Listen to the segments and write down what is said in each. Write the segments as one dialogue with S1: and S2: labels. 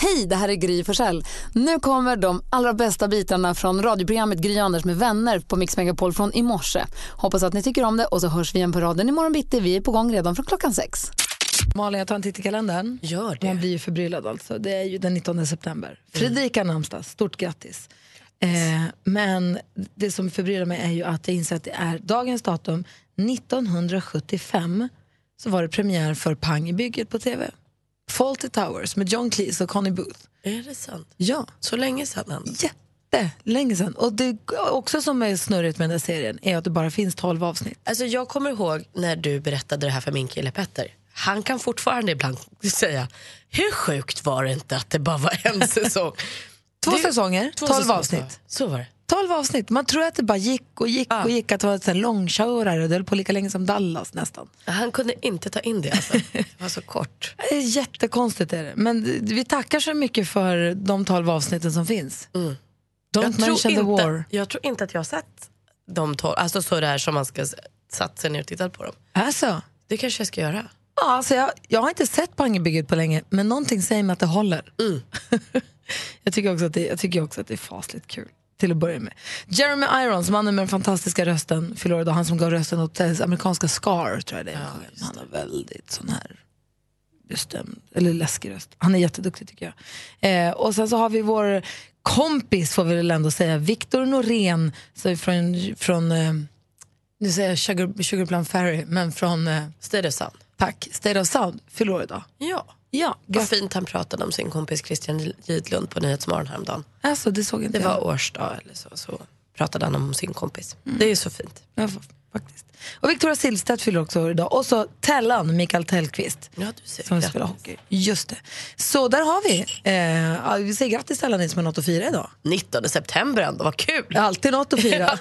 S1: Hej, det här är Gry Forssell. Nu kommer de allra bästa bitarna från radioprogrammet Gry Anders med vänner på Mix Megapol från i morse. Hoppas att ni tycker om det och så hörs vi igen på raden imorgon bitti. Vi är på gång redan från klockan sex.
S2: Malin, jag tar en titt i kalendern. Gör det. Man blir ju förbryllad alltså. Det är ju den 19 september. Fredrika mm. namnsdag, stort grattis. Eh, men det som förbryllar mig är ju att jag inser att det är dagens datum, 1975, så var det premiär för Pang i bygget på tv. Fawlty Towers med John Cleese och Connie Booth.
S3: Är det sant?
S2: Ja.
S3: Så länge sedan ändå.
S2: Jättelänge sedan. Och det också som är snurrigt med den här serien är att det bara finns 12 avsnitt.
S3: Alltså jag kommer ihåg när du berättade det här för min kille Petter. Han kan fortfarande ibland säga, hur sjukt var det inte att det bara var en säsong?
S2: Två det, säsonger,
S3: två
S2: 12
S3: säsonger.
S2: avsnitt.
S3: Så var det.
S2: 12 avsnitt. Man tror att det bara gick och gick
S3: Ja.
S2: och gick. Att det var en långkörare. Det höll på lika länge som Dallas nästan.
S3: Han kunde inte ta in det alltså. Det var så kort.
S2: Det är jättekonstigt är det. Men d- vi tackar så mycket för de 12 avsnitten som finns. Don't
S3: Mm. Jag
S2: mention
S3: tror,
S2: the
S3: inte,
S2: war.
S3: jag tror inte att jag har sett de tolv, alltså så där som man ska s- satt sig ner och tittat på dem.
S2: Alltså,
S3: Det kanske jag ska göra.
S2: ja, alltså jag, jag har inte sett Pangebygget på länge, men någonting säger mig att det håller. jag, tycker också att det, jag tycker också att det är fasligt kul. Till att börja med. Jeremy Irons, mannen med den fantastiska rösten, förlorade idag. Han som gav rösten åt eh, amerikanska Scar, tror jag det är. han har väldigt sån här bestämd, eller läskig röst. Han är jätteduktig tycker jag. Eh, och sen så har vi vår kompis, får vi väl ändå säga, Viktor Norén så från, från eh, nu säger jag Sugar, Sugar Plum Fairy, men från, eh,
S3: Stay the sun.
S2: tack, State of Sound, fyller år idag.
S3: Ja.
S2: Ja,
S3: Vad
S2: grattis.
S3: fint han pratade om sin kompis Christian Gidlund på Nyhetsmorgon häromdagen.
S2: Alltså, det såg inte
S3: Det
S2: jag.
S3: var årsdag eller så, så pratade han om sin kompis. Det är så fint.
S2: Ja, fa- faktiskt. Och Victoria Silvstedt fyller också år idag. Och så Tellan, Mikael Tellqvist.
S3: Ja, du ser.
S2: Som
S3: Grattis.
S2: spelar hockey. Just det. Så där har vi. Eh, ja, vi säger grattis till alla ni som har något att fira idag.
S3: 19 september ändå, vad kul!
S2: Alltid något att fira.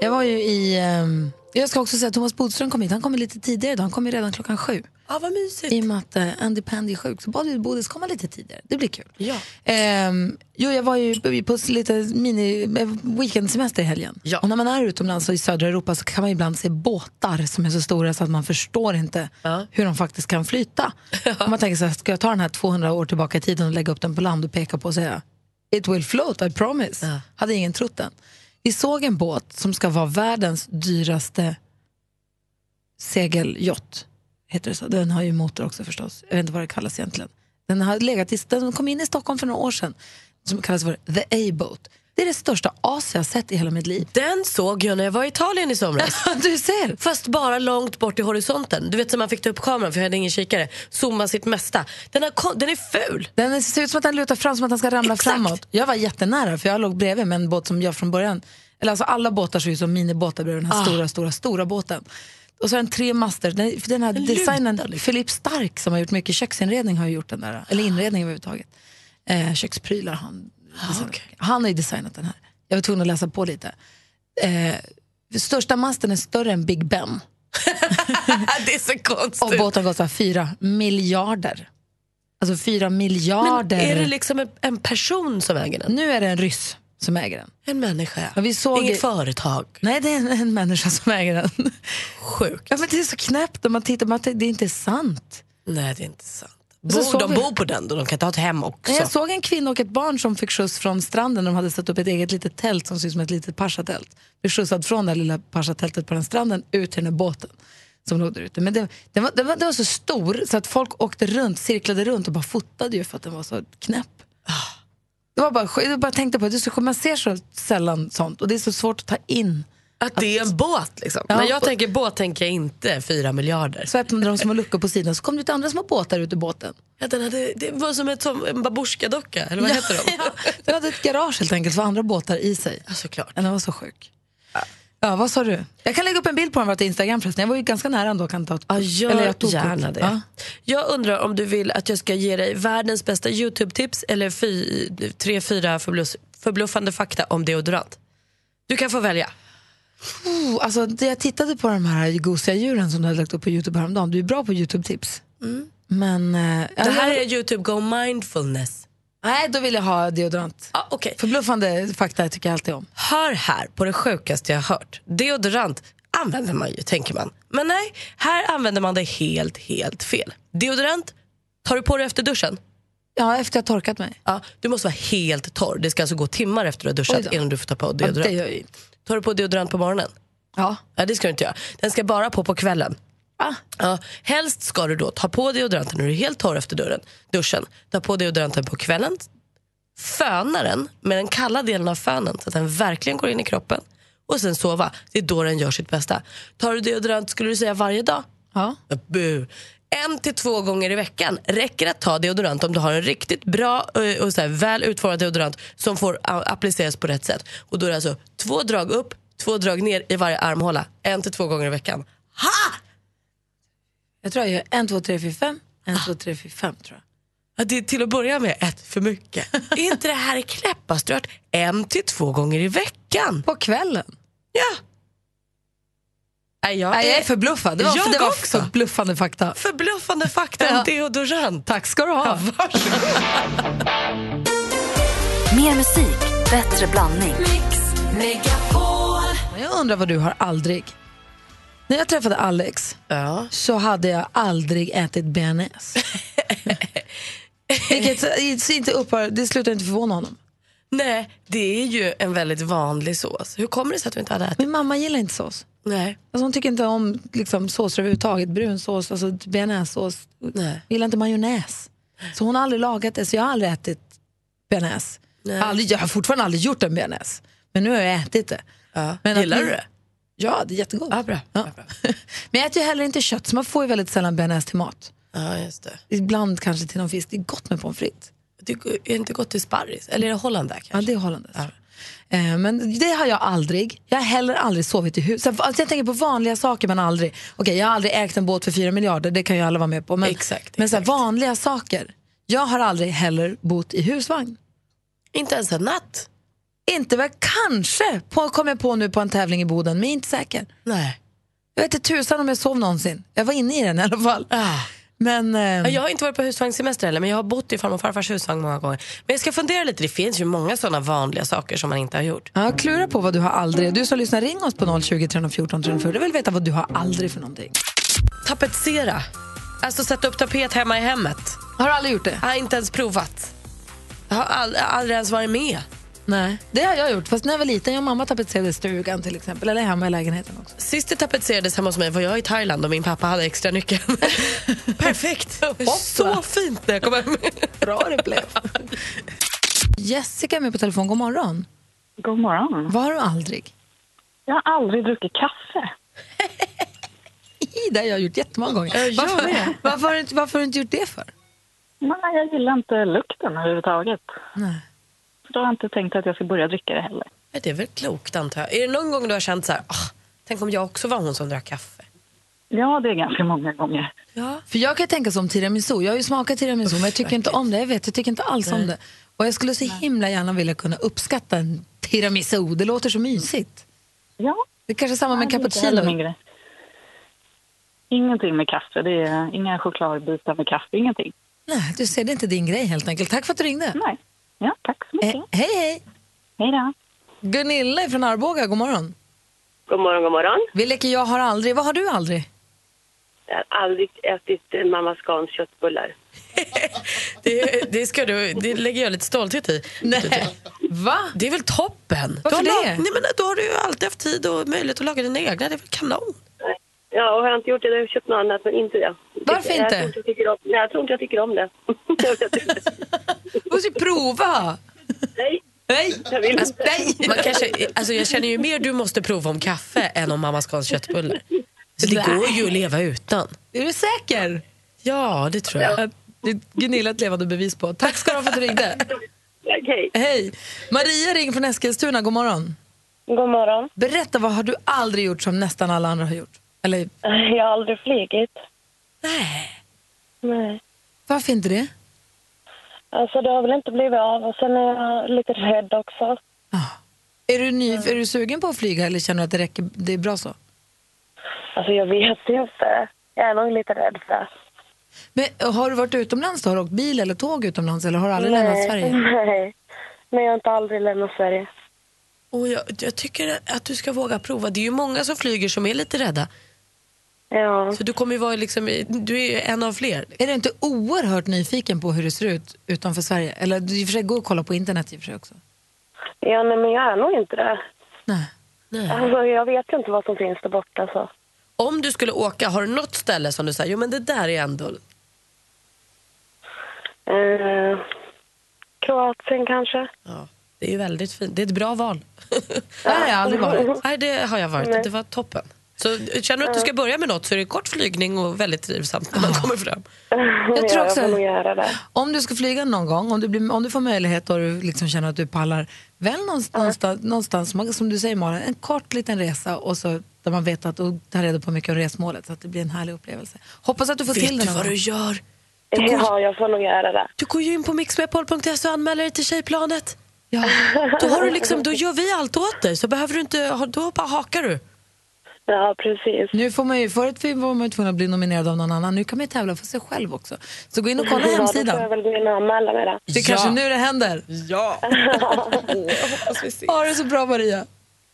S2: jag var ju i... ehm, jag ska också säga att Thomas Bodström kom hit. Han kommer lite tidigare idag. Han kommer redan klockan sju.
S3: Ja, vad mysigt.
S2: I och med att eh, Andy Pandy är sjuk så bad vi Bodis komma lite tidigare. Det blir kul.
S3: Ja.
S2: Ehm, jo, jag var ju på s- lite mini eh, weekendsemester i helgen.
S3: Ja.
S2: Och när man är utomlands och i södra Europa så kan man ibland se båtar som är så stora så att man förstår inte
S3: Ja.
S2: hur de faktiskt kan flyta. Och man tänker så här, ska jag ta den här 200 år tillbaka i tiden och lägga upp den på land och peka på och säga It will float, I promise.
S3: Ja.
S2: Hade ingen trott den. Vi såg en båt som ska vara världens dyraste segeljott. Heter det så? Den har ju motor också förstås. Jag vet inte vad det kallas egentligen. Den, har legat i, den kom in i Stockholm för några år sedan. Som kallas för The A-Boat. Det är det största as jag har sett i hela mitt liv.
S3: Den såg jag när jag var i Italien i somras.
S2: du ser!
S3: Fast bara långt bort i horisonten. Du vet som man fick ta upp kameran för jag hade ingen kikare. Zooma sitt mesta. Den, har, kon- den är ful.
S2: Den ser ut som att han lutar fram, som att han ska ramla
S3: Exakt.
S2: framåt. Jag var jättenära, för jag låg bredvid med en båt som jag från början... Eller alltså alla båtar ser ut som minibåtar bredvid den
S3: Ah.
S2: här stora, stora, stora båten. Och så har den tre master. Den, för den här
S3: Den
S2: designen,
S3: lutar liksom.
S2: Philip Stark som har gjort mycket köksinredning har ju gjort den där. Eller inredning överhuvudtaget. Eh, köksprylar han. designat.
S3: Ah, okej.
S2: Han har ju designat den här. Jag var tvungen att läsa på lite. Eh, största masten är större än Big Ben.
S3: det är så
S2: Och
S3: konstigt.
S2: båten kostar fyra miljarder. Alltså fyra
S3: Men
S2: miljarder.
S3: är det liksom en, en person som äger den?
S2: Nu är det en ryss som äger den.
S3: En människa?
S2: Ja, vi såg-
S3: Inget företag?
S2: Nej, det är en, en människa som äger den.
S3: Sjukt.
S2: Ja, men det är så knäppt när man tittar. Man, tänker, det är inte sant.
S3: Nej, det är inte sant.
S2: så
S3: Bor,
S2: såg
S3: de
S2: vi-
S3: bor på den då, de kan ta ett hem också.
S2: Nej, jag såg en kvinna och ett barn som fick skjuts från stranden. De hade satt upp ett eget litet tält som ser ut som ett litet parsatält. Blev skjutsad från det här lilla parsatältet på den stranden ut till den här båten som låg där ute. Men det, den, var, den, var, den var så stor så att folk åkte runt, cirklade runt och bara fotade ju för att den var så knäpp. Det var bara, jag bara tänkte på det, det är så, man ser så sällan sånt och det är så svårt att ta in.
S3: Att det är en båt liksom.
S2: Ja.
S3: När jag tänker båt tänker jag inte fyra miljarder.
S2: Så öppnade de små luckor på sidan så kom det ut andra små båtar ut ur båten.
S3: Ja, den hade, det var som, ett, som en babusjkadocka, eller vad heter de?
S2: Den hade ett garage helt enkelt för andra båtar i sig.
S3: Ja, såklart.
S2: Ja, Den var så sjuk. Ja, vad sa du? Jag kan lägga upp en bild på den på vårt Instagram förresten. Jag var ju ganska nära ändå. Kan ta ett
S3: Ja,
S2: kort.
S3: gör
S2: Eller
S3: jag
S2: tog kort.
S3: gärna det.
S2: Ja.
S3: Jag undrar om du vill att jag ska ge dig världens bästa YouTube-tips eller fy, tre, fyra förbluff, förbluffande fakta om deodorant. Du kan få välja.
S2: Oh, alltså, det jag tittade på de här gosiga djuren som du hade lagt upp på Youtube häromdagen. Du är bra på Youtube-tips. Men... eh, ja,
S3: Mm. Det här
S2: jag,
S3: är YouTube Go Mindfulness.
S2: Nej, då vill jag ha deodorant.
S3: Ah, okej.
S2: Förbluffande fakta tycker jag alltid om.
S3: Hör här på det sjukaste jag har hört. Deodorant använder man ju, tänker man. Men nej, här använder man det helt, helt fel. Deodorant Tar du på dig efter duschen?
S2: Ja, efter jag torkat mig.
S3: Ja, du måste vara helt torr. Det ska alltså gå timmar efter du har
S2: Oj
S3: duschat
S2: då.
S3: innan du får ta på
S2: Ja,
S3: deodorant.
S2: det gör jag ju inte.
S3: Tar du på deodorant på morgonen?
S2: Ja.
S3: Ja, det ska du inte göra. Den ska bara på på kvällen.
S2: Ah.
S3: Ja, helst ska du då ta på deodoranten när du är helt torr efter dörren, duschen. Ta på deodoranten på kvällen. Föna den med den kalla delen av fönen så att den verkligen går in i kroppen. Och sen sova. Det är då den gör sitt bästa. Tar du deodorant, skulle du säga varje dag?
S2: ja.
S3: Bu. En till två gånger i veckan räcker att ta deodorant om du har en riktigt bra eh, och så här, väl utformad deodorant som får a- appliceras på rätt sätt. Och då är det alltså två drag upp, två drag ner i varje armhåla. En till två gånger i veckan. Ha!
S2: Jag tror jag gör en, två, tre, fyra, fem. En, två, tre, fyra, fem tror jag.
S3: Att det är till att börja med ett för mycket. är inte det här knäppastört? En till två gånger i veckan.
S2: På kvällen?
S3: Ja. Nej, jag
S2: Nej, jag är
S3: är
S2: förbluffad. Det var,
S3: Jag
S2: det var
S3: också.
S2: förbluffande fakta.
S3: förbluffande fakta
S2: Ja.
S3: om deodorant.
S2: Tack ska du ha.
S4: Mer musik, bättre blandning.
S2: Jag undrar vad du har aldrig. När jag träffade Alex
S3: Ja.
S2: så hade jag aldrig ätit bearnaise. Vilket eh, så inte upphör, det slutar inte förvåna honom.
S3: Nej, det är ju en väldigt vanlig sås. Hur kommer det sig att du inte hade ätit?
S2: Min mamma gillar inte sås.
S3: Nej.
S2: Alltså hon tycker inte om liksom, såser överhuvudtaget. Brunsås, alltså bearnaisesås.
S3: Nej.
S2: Gillar inte majonnäs. Så hon har aldrig lagat det, så jag har aldrig ätit bearnaise.
S3: Nej.
S2: Aldrig, jag har fortfarande aldrig gjort en bearnaise. Men nu har jag ätit det.
S3: Ja.
S2: Men att
S3: Gillar
S2: min-
S3: du det?
S2: Ja, det är jättegott.
S3: Ja, bra.
S2: Ja. Men jag äter ju heller inte kött, så man får ju väldigt sällan bearnaise till mat.
S3: Ja, just det.
S2: Ibland kanske till någon fisk. Det är gott med pommes frites.
S3: Du är det inte gott till sparris? Eller är det Holland där kanske?
S2: Ja, det är holländskt. Eh, Men det har jag aldrig. Jag har heller aldrig sovit i hus. Så, Alltså jag tänker på vanliga saker men aldrig. Okej, jag har aldrig ägt en båt för fyra miljarder, det kan ju alla vara med på. Men,
S3: Exakt,
S2: men så här,
S3: exakt.
S2: vanliga saker. Jag har aldrig heller bott i husvagn.
S3: Inte ens en natt?
S2: Inte väl kanske, på, kom jag på nu på en tävling i Boden, men jag är inte säker.
S3: Nej.
S2: Jag vet inte tusan om jag sov någonsin. Jag var inne i den i alla fall.
S3: Ah.
S2: Men, eh,
S3: Ja, Jag har inte varit på husvagnssemester heller, men jag har bott i farmor och farfars husvagn många gånger. Men jag ska fundera lite, det finns ju många sådana vanliga saker som man inte har gjort.
S2: Ja, klura på vad du har aldrig. Du som lyssnar, ring oss på 020 314 314. Jag vill veta vad du har aldrig för någonting.
S3: Tapetsera. Alltså sätta upp tapet hemma i hemmet.
S2: Har du aldrig gjort det?
S3: Jag har inte ens provat. Jag har all- aldrig ens varit med.
S2: Nej. Det har jag gjort, fast när jag var liten. Jag och mamma tapetserade stugan till exempel, eller hemma i lägenheten också.
S3: Sist det tapetserades hemma hos mig var jag i Thailand och min pappa hade extra nyckeln. Perfekt! Så fint när jag kom hem.
S2: Bra det blev. Jessica är med på telefon. God morgon.
S5: God morgon.
S2: Var du aldrig?
S5: Jag har aldrig druckit kaffe.
S2: Det har jag gjort jättemånga gånger.
S3: jag
S2: Varför,
S3: med.
S2: varför, har du, inte- varför har du inte gjort det för?
S5: Nej, jag gillar inte lukten överhuvudtaget.
S2: Nej.
S5: Så då har jag inte tänkt att jag ska börja dricka det heller.
S3: Men Det är väl klokt antar jag. Är det någon gång du har känt så här, "Ah, tänk om jag också var hon som drack kaffe?
S5: Ja, det är ganska många gånger.
S3: Ja.
S2: För jag kan ju tänka som tiramisu. Jag har ju smakat tiramisu men jag tycker inte om det. Jag vet, jag tycker inte alls om det. Och jag skulle så himla gärna vilja kunna uppskatta en tiramisu. Det låter så mysigt.
S5: Ja,
S2: Det är kanske är samma med en
S5: det är inte heller min
S2: cappuccino.
S5: grej. Ingenting med kaffe. Det är inga chokladbitar med kaffe. Ingenting.
S2: Nej, du ser, det är inte din grej helt enkelt. Tack för att du ringde.
S5: Nej. Ja, tack så mycket.
S2: Eh, hej, hej!
S5: Hej då.
S2: Gunilla är från Arboga, god morgon.
S6: God morgon, god morgon.
S2: Vi leker jag har aldrig. Vad har du aldrig?
S6: Jag har aldrig ätit eh, mamma Scans köttbullar.
S3: Det, det, ska du, det lägger jag lite stolthet i. Typ.
S2: Nej. Va?
S3: Det är väl toppen?
S2: Varför
S3: du har
S2: det?
S3: lag- Nej, men då har du ju alltid haft tid och möjlighet att laga dina egna. Det är väl kanon?
S6: Nej. Ja, och har jag inte gjort det, då har jag köpt något annat, men inte det.
S2: Varför
S6: Jag
S2: inte?
S6: tror jag tycker om, nej, jag tror inte jag tycker om det. Jag vet inte.
S2: Du måste ju prova!
S6: nej,
S2: Nej!
S6: jag vill
S2: Alltså,
S6: inte.
S2: nej.
S3: Man kanske, alltså jag känner ju mer du måste prova om kaffe än om mamma Scans köttbullar. Så det går ju att leva utan.
S2: Är du säker?
S3: Ja, det tror jag.
S2: Att- Det är Gunilla ett levande bevis på. Tack ska du ha för att du ringde.
S6: Okej.
S2: Hej! Maria ringer från Eskilstuna, god morgon.
S7: God morgon.
S2: Berätta, vad har du aldrig gjort som nästan alla andra har gjort? Eller
S7: Jag har aldrig flugit.
S3: Nej.
S7: Nej.
S2: varför inte det?
S7: Alltså det har väl inte blivit av och sen är jag lite rädd också.
S2: Ah. Är du, ny,
S7: Mm.
S2: är du sugen på att flyga eller känner du att det räcker, det är bra så?
S7: Alltså jag vet inte. Jag är nog lite rädd för det.
S2: Men eh, har du varit utomlands då? Har du åkt bil eller tåg utomlands eller har du aldrig lämnat Sverige?
S7: Nej. Nej, jag har inte aldrig lämnat Sverige.
S3: Och jag, jag tycker att du ska våga prova. Det är ju många som flyger som är lite rädda.
S6: Ja.
S3: Så du kommer ju vara liksom, i- du är ju en av fler.
S2: Är du inte oerhört nyfiken på hur det ser ut utanför Sverige? Eller du i och för sig går och kollar på internet i och för sig också.
S7: Ja, nej, men jag är nog inte det.
S2: Nej.
S6: Mm.
S7: Alltså, jag vet ju inte vad som finns där borta. Så.
S3: Om du skulle åka, har du något ställe som du säger, jo men det där är ändå...
S7: Eh, Kroatien kanske?
S3: Ja, det är ju väldigt fint, det är ett bra val.
S2: Där har jag aldrig varit.
S3: Nej, det har jag varit. Det var toppen. Så eh, känner du att du ska börja med något så är det kort flygning och väldigt trivsamt när man kommer fram.
S2: Jag tror
S7: ja, jag får nog
S2: också,
S7: göra det.
S2: om du ska flyga någon gång, om du, blir, om du får möjlighet och du liksom känner att du pallar, väl någonstans, någonstans som- som du säger Malin, en kort liten resa och så där man vet att, och tar reda på mycket om resmålet så att det blir en härlig upplevelse. Hoppas att du får till
S3: Vet
S2: det
S3: du
S2: någon
S3: vad
S2: gång.
S3: du gör?
S7: Ja, jag får nog göra det.
S3: Du går ju in på mixmepol.se och anmäler dig till Tjejplanet. Ja. Då, har du liksom, då gör vi allt åt dig, så behöver du inte, ha- då bara hakar du.
S7: Ja, precis.
S2: Nu får man ju, förut var man ju tvungen att bli nominerad av någon annan, nu kan man ju tävla för sig själv också. Så gå in och kolla
S7: ja, Då får jag
S2: hemsidan.
S7: väl gå in och anmäla mig då.
S2: Det är kanske nu det händer.
S3: Ja. jag hoppas vi ses.
S2: Ha det så bra Maria.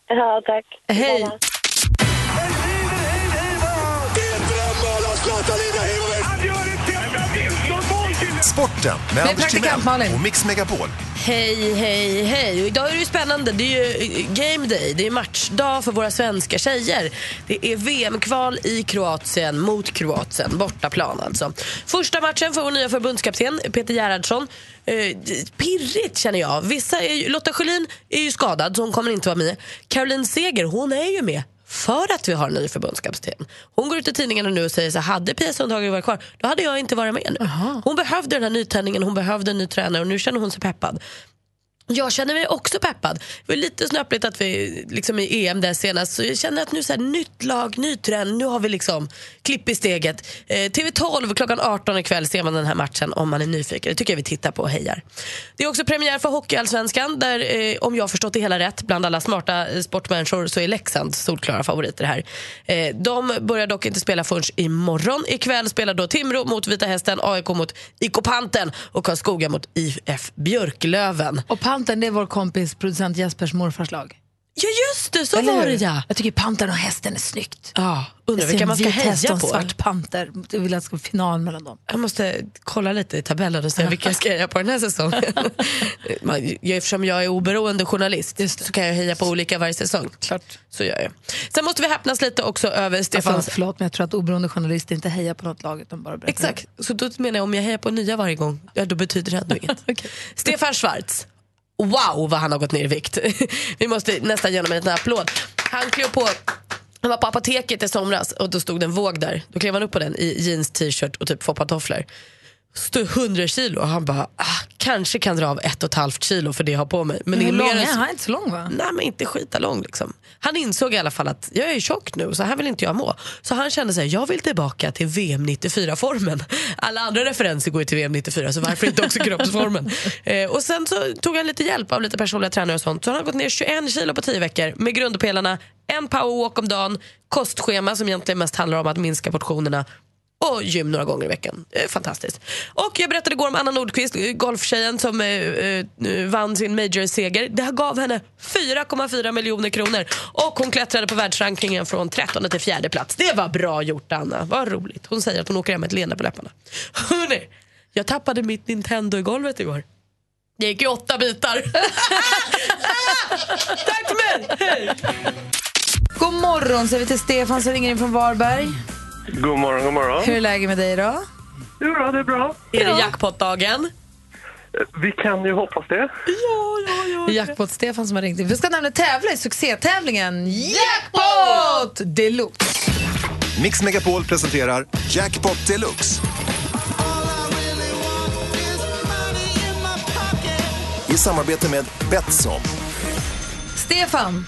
S7: Ja, tack.
S2: Hej.
S8: Sporten med Anders
S2: praktikant
S8: Timell
S2: Malin.
S8: och Mix Megapol.
S3: Hej, hej, hej. Och idag är det ju spännande. Det är ju eh, game day. Det är matchdag för våra svenska tjejer. Det är VM-kval i Kroatien mot Kroatien. Bortaplan alltså. Första matchen för vår nya förbundskapten Peter Gerhardsson. Eh, pirrigt känner jag. Vissa är ju, Lotta Schelin är ju skadad så hon kommer inte vara med. Caroline Seger, hon är ju med för att vi har en ny förbundskapten. Hon går ut i tidningarna nu och säger så här, hade Pia Sundhage varit kvar, då hade jag inte varit med nu. Hon behövde den här nytändningen, hon behövde en ny tränare och nu känner hon sig peppad. Jag känner mig också peppad. Det var lite snöpligt att vi liksom i EM där senast. Så jag känner att nu så här, nytt lag, ny trend. Nu har vi liksom klipp i steget. Eh, TV12 klockan 18 ikväll ser man den här matchen om man är nyfiken. Det tycker jag vi tittar på och hejar. Det är också premiär för Hockeyallsvenskan där eh, om jag har förstått det hela rätt bland alla smarta eh, sportmänniskor så är Leksand solklara favoriter här. Eh, de börjar dock inte spela förrän imorgon. Ikväll spelar då Timrå mot Vita Hästen, AIK mot IK Panten och Karlskoga mot IF Björklöven.
S2: Och Pantern, det är vår kompis producent Jespers morfars lag.
S3: Ja just det, så
S2: Eller
S3: var
S2: hur?
S3: det ja.
S2: Jag tycker Pantern och hästen är snyggt.
S3: ja undrar vilka man ska heja på.
S2: svart panter. Jag vill att det ska vara final mellan dem.
S3: Jag måste kolla lite i tabellen och se vilka jag ska heja på den här säsongen. Man- jag- Eftersom jag är oberoende journalist så kan jag heja på olika varje säsong. Klart. Så gör jag. Sen måste vi häpnas lite också över Stefan...
S2: Alltså, förlåt, men jag tror att oberoende journalister inte hejar på något lag utan bara berättar.
S3: Exakt, så då menar jag om jag hejar på nya varje gång, ja, då betyder det ändå inget. Stefan Schwarz, wow vad han har gått ner i vikt. Vi måste nästan ge honom en liten applåd. Han klev på han var på apoteket i somras och då stod det en våg där. Då klev han upp på den i jeans, t-shirt och typ foppatofflor. Stod 100 kilo och han bara, ah, kanske kan dra av ett och ett halvt kilo för det jag har på mig. Men det
S2: Hur
S3: är
S2: lång
S3: mer
S2: är
S3: än
S2: han? Han är inte så lång va?
S3: Nej men inte skita lång liksom. Han insåg i alla fall att jag är tjock nu så här vill inte jag må. Så han kände sig jag vill tillbaka till VM 94 formen. Alla andra referenser går ju till VM 94 så varför inte också kroppsformen. Eh, och sen så tog han lite hjälp av lite personliga tränare och sånt. Så han har gått ner 21 kilo på 10 veckor med grundpelarna, en powerwalk om dagen, kostschema som egentligen mest handlar om att minska portionerna och gym några gånger i veckan. Eh, Fantastiskt. Och jag berättade igår om Anna Nordqvist, eh, golftjejen som eh, eh, vann sin major-seger. Det här gav henne 4,4 miljoner kronor och hon klättrade på världsrankingen från 13 till fjärde plats. Det var bra gjort Anna, vad roligt. Hon säger att hon åker hem med ett leende på läpparna. Hörrni, jag tappade mitt Nintendo i golvet igår. Det gick i åtta bitar. Tack för mig! Hej!
S2: God morgon säger vi till Stefan som ringer in från Varberg.
S9: God morgon, god morgon.
S2: Mm. Hur är läget med dig då?
S9: Det är bra, det är bra.
S3: Är det jackpot-dagen?
S9: Vi kan ju hoppas det.
S2: Jackpot-Stefan som har ringt in. Vi ska nämligen tävla i succétävlingen Jackpot Deluxe.
S8: Mix Megapol presenterar Jackpot Deluxe. I samarbete med Betsson.
S2: Stefan,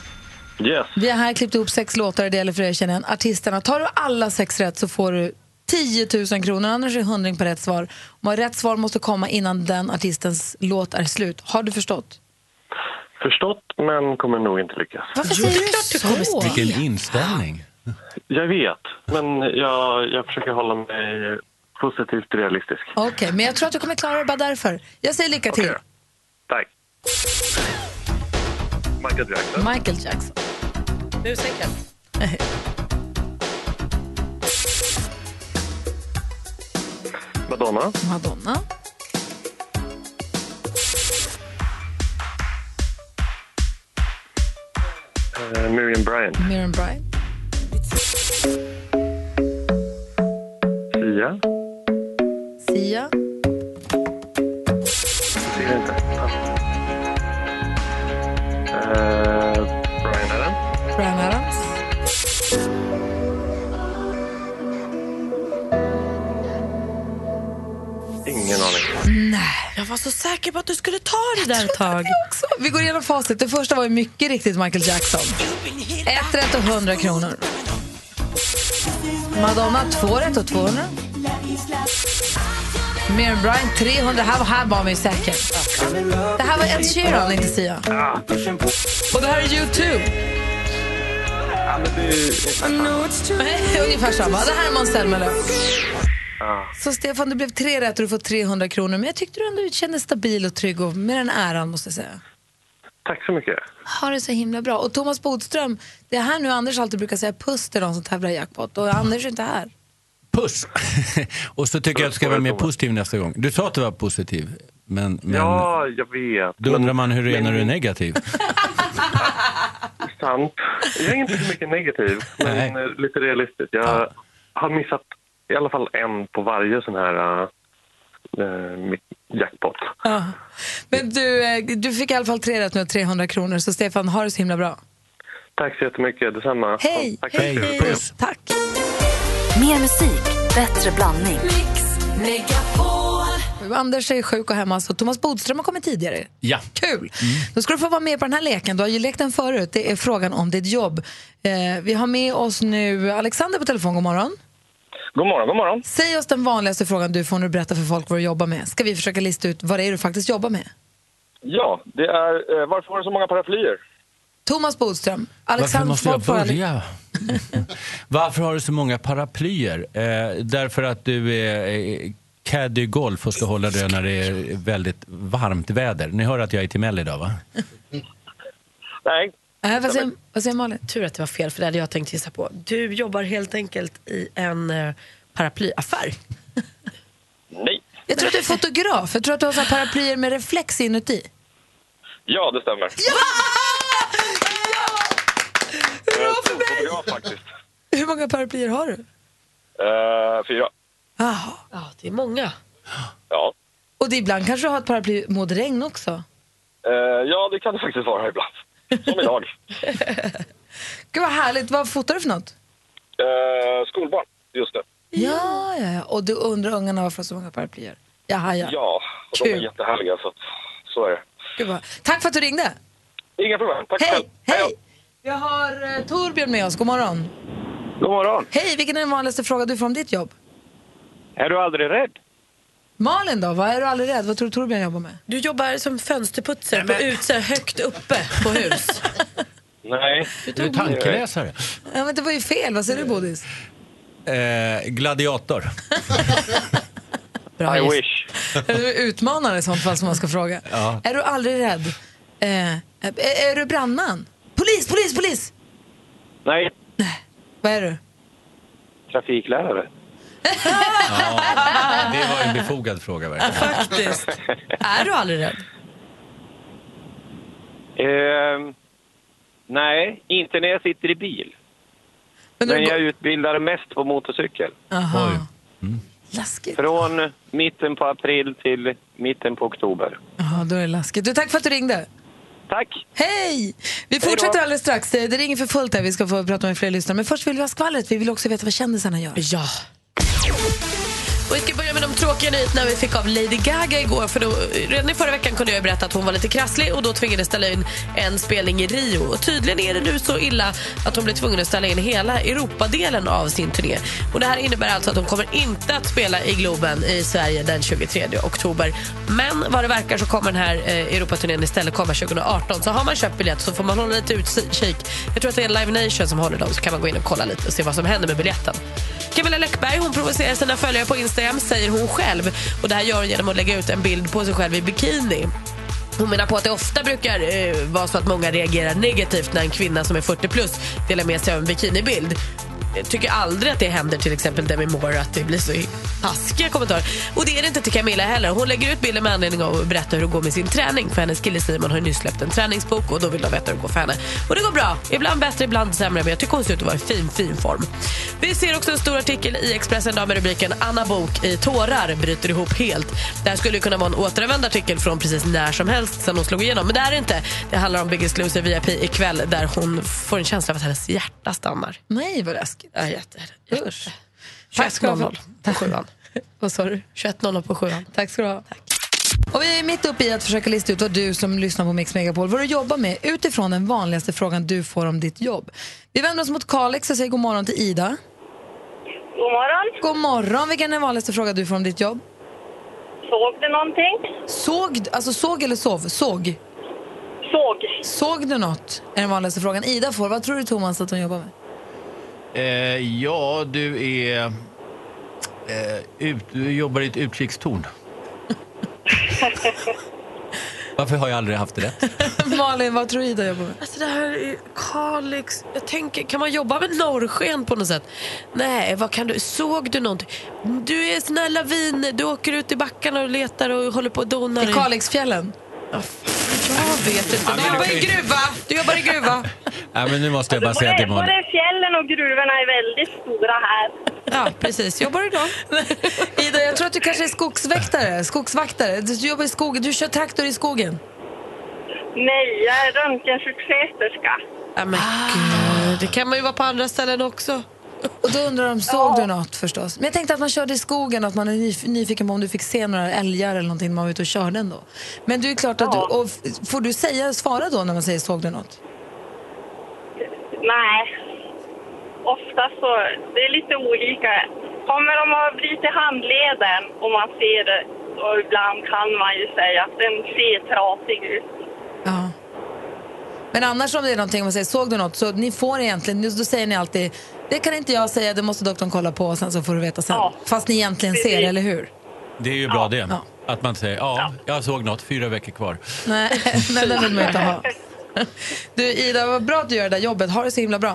S9: Yes.
S2: vi har här klippt ihop sex låtar och det gäller för dig att känna igen artisterna. Tar du alla sex rätt så får du 10 000 kronor, annars är det 100 på rätt svar. Och rätt svar måste komma innan den artistens låt är slut. Har du förstått?
S9: Förstått, men kommer nog inte lyckas.
S2: Varför säger du klart så? Du kommer
S10: Vilken inställning.
S9: Jag vet, men jag, jag försöker hålla mig positivt realistisk.
S2: Okej, men jag tror att du kommer klara det bara därför. Jag säger lycka till.
S9: Tack. Michael Jackson.
S2: Michael Jackson.
S3: Musiken.
S9: Madonna.
S2: Madonna.
S9: Eh, Miriam Bryant.
S2: Miriam Bryant.
S9: Sia.
S2: Sia.
S9: Ser jag inte. Eh, Brian Adams.
S2: Bryan Adams.
S9: Ingen aning.
S3: Jag var så säker på att du skulle ta det där ett tag.
S2: Så, vi går igenom facit. Det första var ju mycket riktigt Michael Jackson. Ett rätt och 100 kronor. Madonna, två rätt och 200. Miriam Bryant, 300. Här, var- här var man ju säker. Det här var Ed Sheeran, inte Sia. Och det här är U2. Ungefär samma. Det här är Måns Zelmerlöw. Så Stefan, det blev tre rätt och du får 300 kronor. Men jag tyckte du ändå kändes stabil och trygg och med den äran måste jag säga.
S9: Tack så mycket.
S2: Ha det så himla bra. Och Thomas Bodström, det är här nu Anders alltid brukar säga puss till de som tävlar i jackpot och Anders är inte här.
S10: Puss! och så tycker jag att du ska vara mer positiv nästa gång. Du sa att du var positiv, men, men
S9: Ja, jag vet.
S10: då undrar
S9: Men-
S10: man hur det är
S9: men-
S10: när du är negativ.
S9: Sant. Jag är inte så mycket negativ, men
S10: Nej.
S9: eh, lite realistiskt. Jag har missat i alla fall en på varje sån här eh, mitt jackpot.
S2: Ja. Men du, eh, du fick i alla fall tre rätt nu och 300 kronor så Stefan, ha det så himla bra.
S9: Tack så jättemycket. Detsamma.
S2: Hej!
S9: Tack
S10: Hej,
S9: mycket.
S10: puss!
S2: Tack!
S4: Mer musik, bättre blandning.
S2: Anders är sjuk och hemma så Thomas Bodström har kommit tidigare.
S10: Ja.
S2: Kul! Då ska du få vara med på den här leken. Du har ju lekt den förut. Det är frågan om ditt jobb. Eh, vi har med oss nu Alexander på telefon. God morgon.
S9: God morgon, god morgon.
S2: Säg oss den vanligaste frågan du får när du berättar för folk vad du jobbar med. Ska vi försöka lista ut vad det är du faktiskt jobbar med?
S9: Ja, det är... Eh, varför har du så många paraplyer?
S2: Thomas Bodström,
S10: Varför
S2: Alexander
S10: måste jag
S2: Svart-
S10: börja? Varför har du så många paraplyer? Eh, därför att du är eh, caddy i golf och ska hålla det när det är väldigt varmt väder. Ni hör att jag är i Timell idag va?
S9: Nej.
S2: Nej, Äh, vad, säger, vad säger Malin?
S3: Tur att det var fel, för det hade jag tänkt gissa på. Du jobbar helt enkelt i en eh, paraplyaffär.
S9: Nej.
S2: Jag tror att du är fotograf. Jag tror att du har så här paraplyer med reflex inuti.
S9: Ja, det stämmer. Ja! Hurra för mig! Fotograf, faktiskt.
S2: Hur många paraplyer har du?
S9: Eh, fyra.
S2: Jaha.
S3: Ja, det är många.
S9: Ja.
S2: Och det ibland kanske du har ett paraply mot regn också.
S9: Eh, ja, det kan det faktiskt vara ibland. Som idag.
S2: Gud vad härligt. Vad fotar du för något?
S9: Eh, skolbarn, just det.
S2: Ja, ja, ja. Och du undrar ungarna varför de har så många paraplyer? Jaha, ja.
S9: Ja, och de är
S2: Kul.
S9: jättehärliga så att, så är det.
S2: Gud vad... Tack för att du ringde.
S9: Inga problem, tack själv.
S2: Hej, hej. Vi har eh, Torbjörn med oss. God morgon.
S9: God morgon.
S2: Hej, vilken är den vanligaste frågan du får om ditt jobb?
S9: Är du aldrig rädd?
S2: Malin då? Vad är du aldrig rädd? Vad tror du Torbjörn jobbar med?
S3: Du jobbar som fönsterputsare på Utse högt uppe på hus.
S9: Nej.
S10: Du är tankeläsare.
S2: Ja, men det var ju fel. Vad säger du Bodis?
S10: Eh, gladiator.
S3: Bra gissat.
S9: wish.
S2: Är du utmanare i sånt fall som man ska fråga?
S10: Ja.
S2: Är du aldrig rädd? Eh, är, är du brandman? Polis, polis, polis!
S9: Nej.
S2: Vad är du?
S9: Trafiklärare.
S10: Det var en befogad fråga verkligen.
S3: Faktiskt. Är du aldrig rädd?
S9: Ehm, nej, inte när jag sitter i bil.
S2: Men du går-
S9: utbildar mest på motorcykel.
S2: Aha.
S10: Oj.
S2: Mm. Läskigt.
S9: Från mitten på april till mitten på oktober.
S2: Ja, då är det läskigt. Du, tack för att du ringde.
S9: Tack!
S2: Hej! Vi fortsätter alldeles strax. Det det ringer för fullt här. Vi ska få prata med fler lyssnare. Men först vill vi ha skvallret. Vi vill också veta vad kändisarna gör.
S3: Ja. Och vi ska börja med de tråkiga nyheterna vi fick av Lady Gaga igår. För då, redan i förra veckan kunde jag berätta att hon var lite krasslig och då tvingades ställa in en spelning i Rio. Och tydligen är det nu så illa att hon blir tvungen att ställa in hela Europadelen av sin turné. Och det här innebär alltså att hon kommer inte att spela i Globen i Sverige den 23 oktober. Men vad det verkar så kommer den här eh, Europaturnén istället komma 2018. Så har man köpt biljett så får man hålla lite utkik. Jag tror att det är Live Nation som håller dem så kan man gå in och kolla lite och se vad som händer med biljetten. Camilla Läckberg hon provocerar sina följare på Instagram, säger hon själv. Och Det här gör hon genom att lägga ut en bild på sig själv i bikini. Hon menar på att det ofta brukar eh, vara så att många reagerar negativt när en kvinna som är 40 plus delar med sig av en bikinibild. Jag tycker aldrig att det händer till exempel Demi Moore att det blir så taskiga kommentarer. Och det är det inte till Camilla heller. Hon lägger ut bilder med anledning av att berätta hur det går med sin träning. För hennes kille Simon har ju nyss släppt en träningsbok och då vill de veta hur det går för henne. Och det går bra. Ibland bättre, ibland sämre. Men jag tycker hon ser ut att vara i fin, fin form. Vi ser också en stor artikel i Expressen idag med rubriken Anna Bok i tårar bryter ihop helt. Det här skulle ju kunna vara en återvänd artikel från precis när som helst sen hon slog igenom. Men det är det inte. Det handlar om Biggest Loser VIP ikväll där hon får en känsla av att hennes hjärta stannar.
S2: Nej, vad läskigt.
S3: Ja, jätte. Usch.
S2: Tack ska du ha.
S3: 21.00 på sjuan.
S2: Vad sa du?
S3: 21.00 på sjuan.
S2: Tack ska du ha. Och vi är mitt uppe i att försöka lista ut vad du som lyssnar på Mix Megapol vad du jobbar med utifrån den vanligaste frågan du får om ditt jobb. Vi vänder oss mot Kalix och säger god morgon till Ida.
S6: God morgon.
S2: God morgon. Vilken är den vanligaste frågan du får om ditt jobb?
S6: Såg du någonting?
S2: Såg, alltså såg eller sov? Såg.
S6: Såg.
S2: Såg du något? Är den vanligaste frågan Ida får. Vad tror du Thomas att hon jobbar med?
S10: Eh, ja, du är... Eh, ut, du jobbar i ett utkikstorn. Varför har jag aldrig haft rätt?
S2: Malin, vad tror du Ida jobbar med?
S3: Alltså det här är Kalix. Jag tänker, kan man jobba med norrsken på något sätt? Nej, vad kan du? Såg du någonting? Du är sån här lavin. Du åker ut i backarna och letar och håller på och donar.
S2: I Kalixfjällen?
S3: Jag vet inte. Du jobbar i gruva. Du jobbar i gruva.
S10: Nej, men nu måste jag bara säga till Malin.
S6: Både fjällen och gruvorna är väldigt stora här.
S3: Ja, precis. Jobbar du då?
S2: Ida, jag tror att du kanske är skogsväktare, skogsvaktare. Du jobbar i skogen, du kör traktor i skogen.
S6: Nej, jag är röntgensjuksköterska.
S3: Ja, men
S2: Ah.
S3: gud. Det kan man ju vara på andra ställen också.
S2: Och då undrar de, såg du något förstås? Men jag tänkte att man körde i skogen och att man är nyf- nyfiken på om du fick se några älgar eller någonting när man var ute och körde ändå. Men du är klart att du, och f- får du säga, svara då när man säger såg du något?
S6: Nej. Ofta så, det är lite olika. Kommer de att bryta handleden om man ser det? Och ibland kan man ju säga att den ser trasig ut.
S2: Ja. Men annars om det är någonting, om man säger såg du något, så ni får egentligen, då säger ni alltid, det kan inte jag säga, det måste doktorn kolla på och sen så får du veta sen. Fast ni egentligen ser, eller hur?
S10: Det är ju bra det. Att man säger, ja, jag såg något, fyra veckor kvar.
S2: Nej, nej den vill man inte ha. Du Ida, vad bra att du gör det där jobbet. Ha det så himla bra.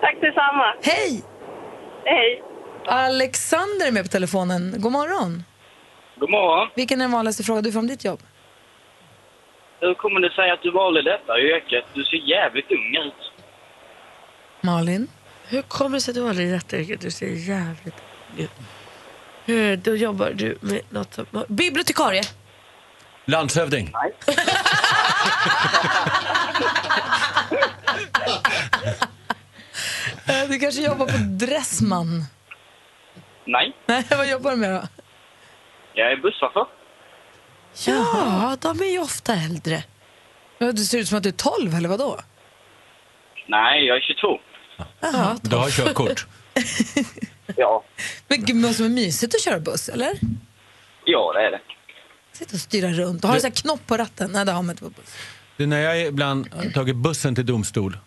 S6: Tack detsamma.
S2: Hej!
S6: Hej.
S2: Alexander är med på telefonen. God morgon.
S11: God morgon.
S2: Vilken är den vanligaste frågan du får om ditt jobb?
S11: Hur kommer det sig att du valde detta yrket? Du ser jävligt ung ut.
S2: Malin?
S3: Hur kommer det sig att du har aldrig rätt yrke? Du ser jävligt ut. Eh, Då jobbar du med något som... Bibliotekarie!
S10: Landshövding.
S2: Eh, Du kanske jobbar på Dressman?
S11: Nej,
S2: Nej, vad jobbar du med då?
S11: jag är busschaufför.
S2: Ja, de är ju ofta äldre. Du ser ut som att du är 12, eller vadå?
S11: Nej, jag är 22.
S2: Jaha.
S10: Du har körkort.
S11: Ja,
S2: Men gud, men som är mysigt att köra buss, eller?
S11: ja det är det.
S2: Sitta och styra runt. Och har du så här knopp på ratten? Nej, det har man inte på buss.
S10: Du, när jag ibland har tagit bussen till domstol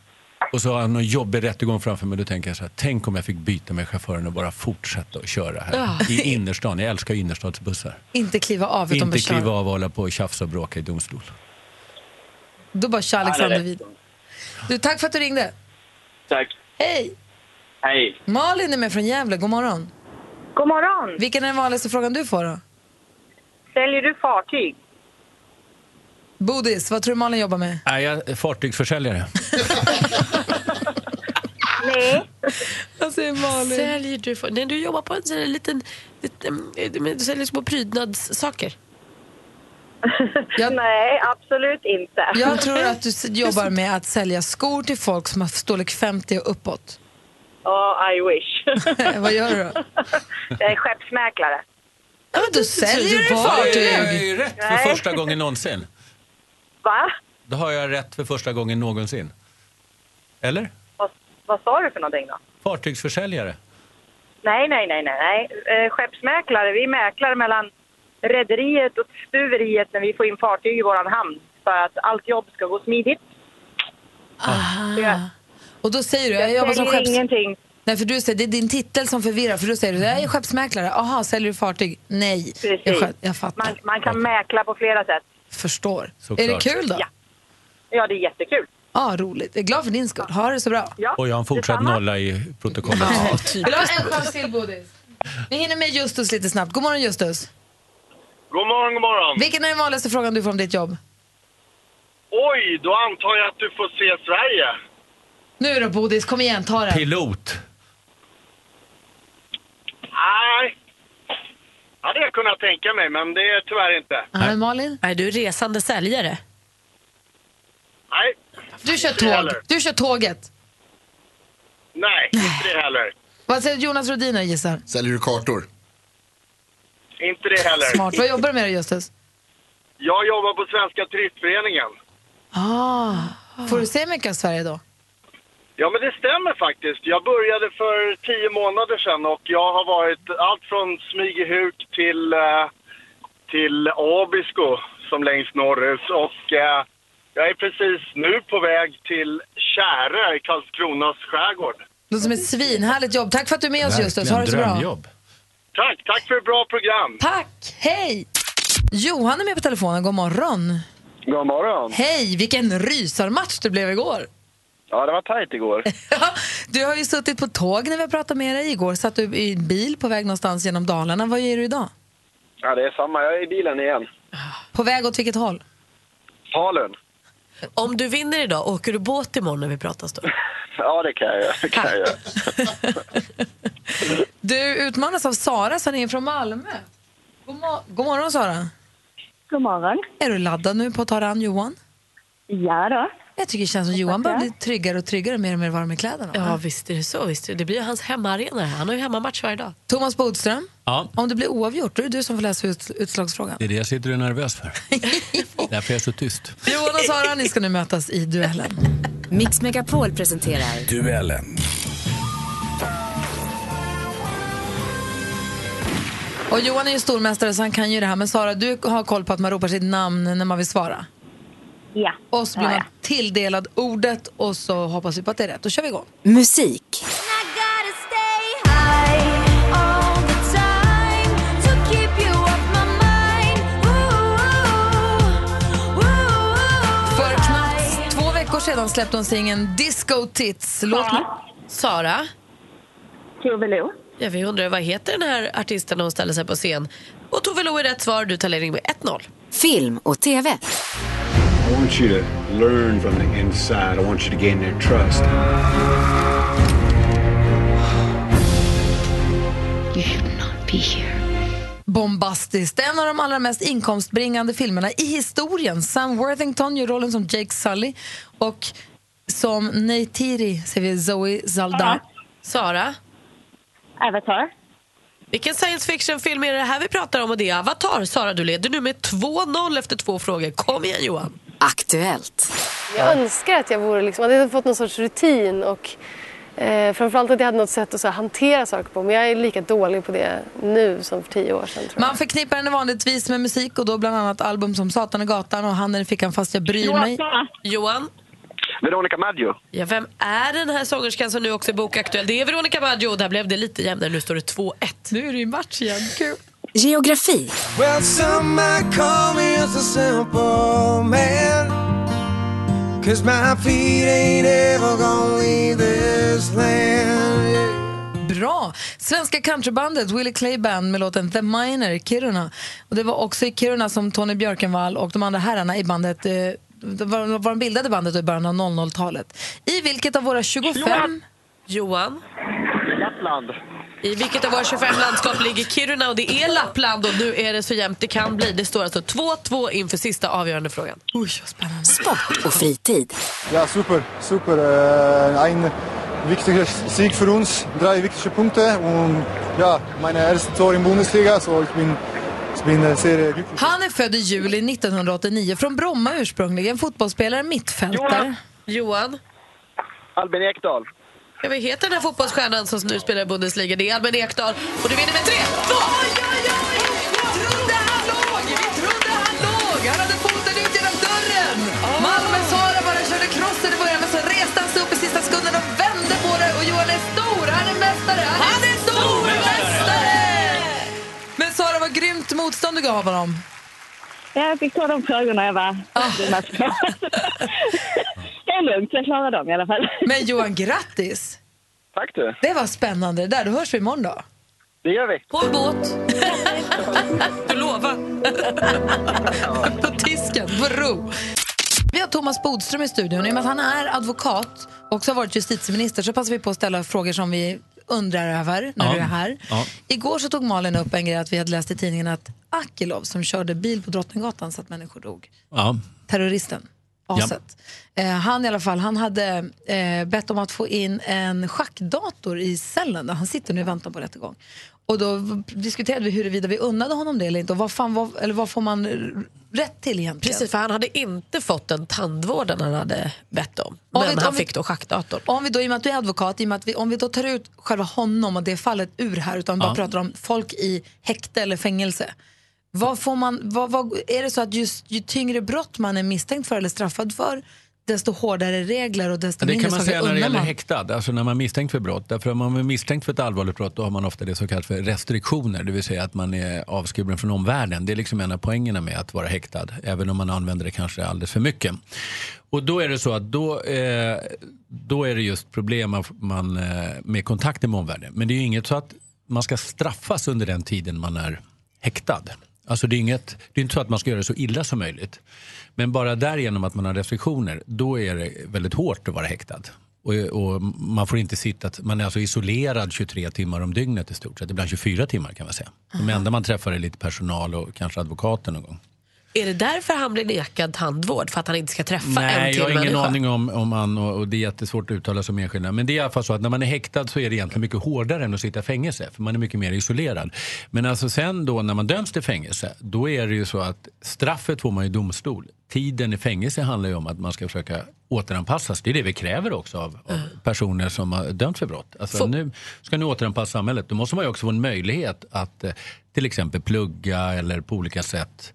S10: och så har jag någon jobbig rättegång framför mig, då tänker jag så här, tänk om jag fick byta med chauffören och bara fortsätta att köra här
S2: Ja.
S10: i innerstan. Jag älskar ju innerstadsbussar.
S2: Inte kliva av, utan
S10: Inte
S2: bara köra.
S10: kliva av och hålla på och tjafsa och bråka i domstol.
S2: Då bara kör Alexander
S10: Ja, det är
S2: vidare. Du, tack för att du ringde.
S11: Tack.
S2: Hej!
S11: Hej.
S2: Malin är med från Gävle. God morgon.
S6: God morgon.
S2: Vilken är den vanligaste frågan du får då?
S6: Säljer du fartyg?
S2: Bodis, vad tror du Malin jobbar med?
S10: Är jag fartygsförsäljare?
S6: Nej.
S2: Vad säger Malin?
S3: Säljer du... För... Nej, du jobbar på en sån här liten... liten eh, men du säljer små prydnadssaker.
S6: Nej, absolut inte.
S2: Jag tror att du s- jobbar med att sälja skor till folk som har storlek 50 och uppåt. Eh,
S6: Ja, I wish.
S2: Vad gör du då?
S6: Jag är skeppsmäklare.
S2: Ja, men du säljer du
S10: Det har
S2: fartyg!
S10: jag ju rätt för
S6: Nej.
S10: första gången någonsin.
S6: Va?
S10: Då har jag rätt för första gången någonsin. Eller?
S6: Vad, vad sa du för någonting då?
S10: Fartygsförsäljare.
S6: Nej, nej, nej, nej. nej. Eh, skeppsmäklare, vi mäklar mellan rederiet och stuveriet när vi får in fartyg i vår hamn för att allt jobb ska gå smidigt.
S2: Aha. Och då säger du, jag jobbar som
S6: säljer
S2: skepps...
S6: ingenting.
S2: Nej, för du säger, det är din titel som förvirrar, för då säger du, jag är skeppsmäklare. Aha, säljer du fartyg? Nej. Jag,
S6: Precis.
S2: skö- jag fattar,
S6: Man, man kan mäkla på flera sätt.
S2: förstår.
S6: Såklart.
S2: Är det kul då?
S6: Ja. Ja, det är jättekul.
S2: Ja, Ja, roligt. Jag är glad för din skull. Ha det så bra.
S10: Och jag har en fortsatt nolla i protokollet.
S2: Vill du ha en chans till, Bodis? Vi hinner med Justus lite snabbt. God morgon, Justus.
S12: God morgon, god morgon.
S2: Vilken är den vanligaste frågan du får om ditt jobb?
S12: Oj, då antar jag att du får se Sverige.
S2: Nu då, Bodis. Kom igen, ta det.
S10: Pilot.
S12: Nej. Hade jag kunnat tänka mig, men det är tyvärr inte.
S2: Nej. Malin?
S3: Nej, du är resande säljare.
S12: Nej.
S2: Du kör
S12: Inte det
S2: tåg.
S12: heller.
S2: Du kör tåget.
S12: Nej, inte det heller.
S2: Vad säger Jonas Rodiner gissar?
S13: Säljer du kartor?
S12: Inte det heller.
S2: Smart. Vad jobbar du med då, Justus?
S12: Jag jobbar på Svenska Turistföreningen.
S2: Ah. Får du se mycket av Sverige då?
S12: Ja, men det stämmer faktiskt. Jag började för tio månader sedan och jag har varit allt från Smygehuk till, eh, till Abisko som längst norrut. Och eh, jag är precis nu på väg till Kära i Karlskronas skärgård.
S2: Något som är ett svinhärligt jobb. Tack för att du är med oss, Justus. Ha det så bra.
S12: Tack, tack för ett bra program.
S2: Tack. Hej! Johan är med på telefonen. God morgon.
S14: God morgon.
S2: Hej! Vilken rysarmatch det blev igår.
S14: Ja, det var tajt igår.
S2: Du har ju suttit på tåg när vi har pratat med dig. Igår satt du i en bil på väg någonstans genom Dalarna. Vad gör du idag?
S14: Ja, det är samma. Jag är i bilen igen.
S2: På väg åt vilket håll?
S14: Falun.
S3: Om du vinner idag, åker du båt imorgon när vi pratas då?
S14: Ja, det kan jag göra. Det kan jag göra.
S2: Du utmanas av Sara som ringer från Malmö. God, mo- God morgon, Sara. God morgon. Är du laddad nu på att ta dig an Johan? Ja då. Jag tycker det känns som Johan börjar bli tryggare och tryggare mer och mer varm i kläderna.
S3: Ja, visst är det så. Visst är det. det blir ju hans hemmaarena. här. Han har ju hemmamatch varje dag.
S2: Thomas Bodström,
S10: Ja,
S2: om det blir oavgjort, då är det du som får läsa ut, utslagsfrågan.
S10: det är det jag sitter och är nervös för. Därför är jag så tyst.
S2: Johan och Sara, ni ska nu mötas i duellen.
S4: Mix Megapol presenterar
S10: Duellen.
S2: Och Johan är ju stormästare så han kan ju det här. Men Sara, du har koll på att man ropar sitt namn när man vill svara? Ja. Och så blir
S4: Ja,
S2: man tilldelad ordet och så hoppas vi på att det är rätt. Då kör vi igång.
S4: musik.
S2: För knappt två veckor sedan släppte hon singeln Disco Tits. Låt mig...
S3: Sara? Tove Lo. Ja, vi undrar vad heter den här artisten när hon ställer sig på scen? Och Tove Lo är rätt svar. Du tar ledning med 1-0.
S4: Film och TV.
S15: I want you to learn from the inside. I want you to gain their trust.
S2: Bombastiskt. En av de allra mest inkomstbringande filmerna i historien. Sam Worthington gör rollen som Jake Sully och som Neytiri ser vi Zoe Saldana.
S3: Sara? Avatar. Vilken science fiction-film är det här vi pratar om? Och det är Avatar. Sara, du leder nu med 2-0 efter två frågor. Kom igen, Johan.
S4: Aktuellt.
S16: Jag önskar att jag vore liksom, att jag hade fått någon sorts rutin och eh, framförallt att jag hade något sätt att så här, hantera saker på. Men jag är lika dålig på det nu som för tio år sedan. Tror jag.
S2: Man förknippar henne vanligtvis med musik och då bland annat album som Satan och Gatan och Handen i fickan fast jag bryr mig.
S3: Johan?
S14: Veronica Maggio.
S3: Ja, vem är den här sångerskan som nu också är bokaktuell? Det är Veronica Maggio. Där blev det lite jämnare. Nu står det 2-1.
S2: Nu är det ju match igen. Kul.
S4: Geografi.
S17: Well, some might call me just a simple man. Cause my feet ain't ever gonna leave this land.
S2: Bra! Svenska countrybandet Willie Clay Band med låten The Miner i Kiruna. Och det var också i Kiruna som Tony Björkenvall och de andra herrarna i bandet eh, var, var de bildade bandet i början av 00-talet. I vilket av våra 25...
S3: Johan?
S14: Lappland.
S3: I vilket av våra 25 landskap ligger Kiruna? Och det är Lappland och nu är det så jämnt det kan bli. Det står alltså 2-2 inför sista avgörande frågan.
S2: Oj, vad spännande.
S4: Sport och fritid.
S18: Ja, super, super. Äh, Ein wichtiger Sieg für uns, drei wichtige Punkte und ja, meine erste Tor in Bundesliga, so ich bin, ich bin äh, sehr glücklich.
S2: Han är född i juli 1989, från Bromma ursprungligen, fotbollsspelare, mittfältare.
S3: Johan?
S14: Albin Ekdal.
S3: Ja, vad heter den här fotbollsstjärnan som nu spelar i Bundesliga? Det är Albin Ekdal. Och du vinner med 3-2!
S2: Han hade foten ut genom dörren! Malmö-Sara bara körde crossen i början, men så reste han sig upp i sista sekunden och vände på det. Och Johan är stor! Han är mästare! Han, är stormästare! Men Sara, vad grymt motstånd du gav honom.
S5: Jag fick ta de frågorna jag var.
S13: är lugnt, jag klarar dem i alla fall.
S2: Men Johan, grattis!
S14: Tack du.
S2: Det var spännande det där. Då hörs vi imorgon då.
S14: Det gör vi.
S2: På en båt. du lovar. på tisken, på ro. Vi har Thomas Bodström i studion. I och med att han är advokat och också har varit justitieminister så passar vi på att ställa frågor som vi undrar över när
S19: Ja.
S2: du är här.
S19: Ja.
S2: Igår så tog Malin upp en grej att vi hade läst i tidningen att Akilov som körde bil på Drottninggatan så att människor dog.
S10: Ja.
S2: Terroristen.
S10: Ja.
S2: Aset. Eh, han i alla fall, han hade eh, bett om att få in en schackdator i cellen där han sitter nu i väntan på rättegång. Och då v- diskuterade vi huruvida vi unnade honom det eller inte och vad, fan, vad, eller vad får man r- rätt till egentligen?
S19: Precis, för han hade inte fått den tandvården han hade bett om. Men
S2: vi- om
S19: han
S2: vi-
S19: fick då schackdatorn.
S2: Om vi då, i och med att du är advokat, i och med att vi, om vi då tar ut själva honom och det fallet ur här utan bara
S19: Ja.
S2: pratar om folk i häkte eller fängelse. Vad får man, vad, vad, är det så att just, ju tyngre brott man är misstänkt för eller straffad för desto hårdare regler och desto
S10: Det
S2: mindre
S10: kan man
S2: saker
S10: säga när det
S2: unnar
S10: gäller
S2: man?
S10: häktad, alltså när man är misstänkt för brott. Därför om man är misstänkt för ett allvarligt brott då har man ofta det som kallas för restriktioner, det vill säga att man är avskuren från omvärlden. Det är liksom en av poängerna med att vara häktad, även om man använder det kanske alldeles för mycket. Och då är det så att då, eh, då är det just problem man, man, eh, med kontakten med omvärlden. Men det är ju inget så att man ska straffas under den tiden man är häktad. Alltså det är, inget, det är inte så att man ska göra det så illa som möjligt. Men bara därigenom att man har restriktioner, då är det väldigt hårt att vara häktad. Och, och man får inte sitta, man är alltså isolerad 23 timmar om dygnet i stort sett, ibland 24 timmar kan man säga. De
S19: Aha.
S10: enda man träffar är lite personal och kanske advokaten någon gång.
S19: Är det därför han blir nekad tandvård? För att han inte ska träffa en
S10: Nej,
S19: till
S10: jag har ingen
S19: människa?
S10: aning om, om han och, och det är jättesvårt att uttala sig om enskilda. Men det är i alla fall så att när man är häktad så är det egentligen mycket hårdare än att sitta i fängelse. För man är mycket mer isolerad. Men alltså sen då när man döms till fängelse, då är det ju så att straffet får man i domstol. Tiden i fängelse handlar ju om att man ska försöka återanpassas. Det är det vi kräver också av, av personer som har dömts för brott. Alltså,
S19: Får-
S10: Nu ska ni återanpassa samhället. Då måste man ju också få en möjlighet att eh, till exempel plugga eller på olika sätt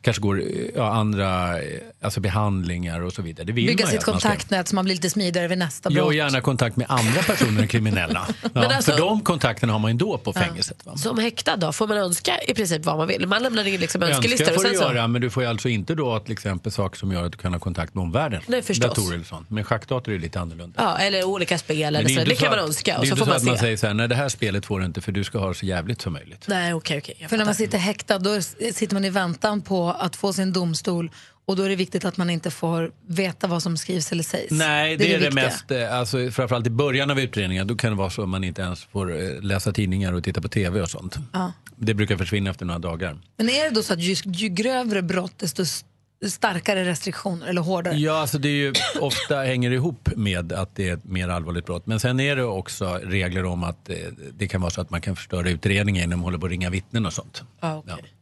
S10: kanske går eh, ja, andra eh, alltså behandlingar och så vidare. Det vill
S2: Bygga
S10: man ju
S2: sitt
S10: att man ska-
S2: kontaktnät så man blir lite smidigare vid nästa
S10: Ja, och
S2: brott.
S10: gärna kontakt med andra personer än kriminella. Ja,
S19: Men alltså-
S10: för de kontakterna har man ju ändå på
S19: Ja.
S10: fängelset. Va?
S19: Som häktad då, får man önska i princip vad man vill? Man lämnar in liksom önskelistor.
S10: Önska
S19: och
S10: får du
S19: sen så-
S10: göra, men du får ju alltså inte då till exempel saker som gör att du kan ha kontakt med omvärlden.
S19: Nej, förstås.
S10: Datorer eller sånt. Men schackdator är ju lite annorlunda.
S19: Ja, eller olika spel.
S10: Men
S19: Eller
S10: är
S19: så.
S10: inte
S19: Det
S10: så
S19: kan man
S10: att-
S19: önska
S10: Det
S19: och
S10: är
S19: så
S10: inte
S19: får
S10: så
S19: man
S10: att man
S19: se.
S10: säger så här, nej det här spelet får du inte för du ska ha det så jävligt som möjligt.
S19: Nej, okej, okej. jag
S2: För när
S19: fattar.
S2: man sitter häktad då s- sitter man i väntan på att få sin domstol och då är det viktigt att man inte får veta vad som skrivs eller sägs.
S10: Nej, det, är det,
S2: viktiga.
S10: mest, eh, alltså, framförallt i början av utredningen, då kan det vara så att man inte ens får eh, läsa tidningar och titta på tv och sånt.
S2: Ja.
S10: Det brukar försvinna efter några dagar.
S2: Men är det då så att ju, ju grövre brott desto s- starkare restriktioner eller hårdare?
S10: Ja, alltså det är ju, ofta hänger det ihop med att det är ett mer allvarligt brott. Men sen är det också regler om att eh, det kan vara så att man kan förstöra utredningen genom att hålla på och ringa vittnen och sånt.
S19: Ja, okej.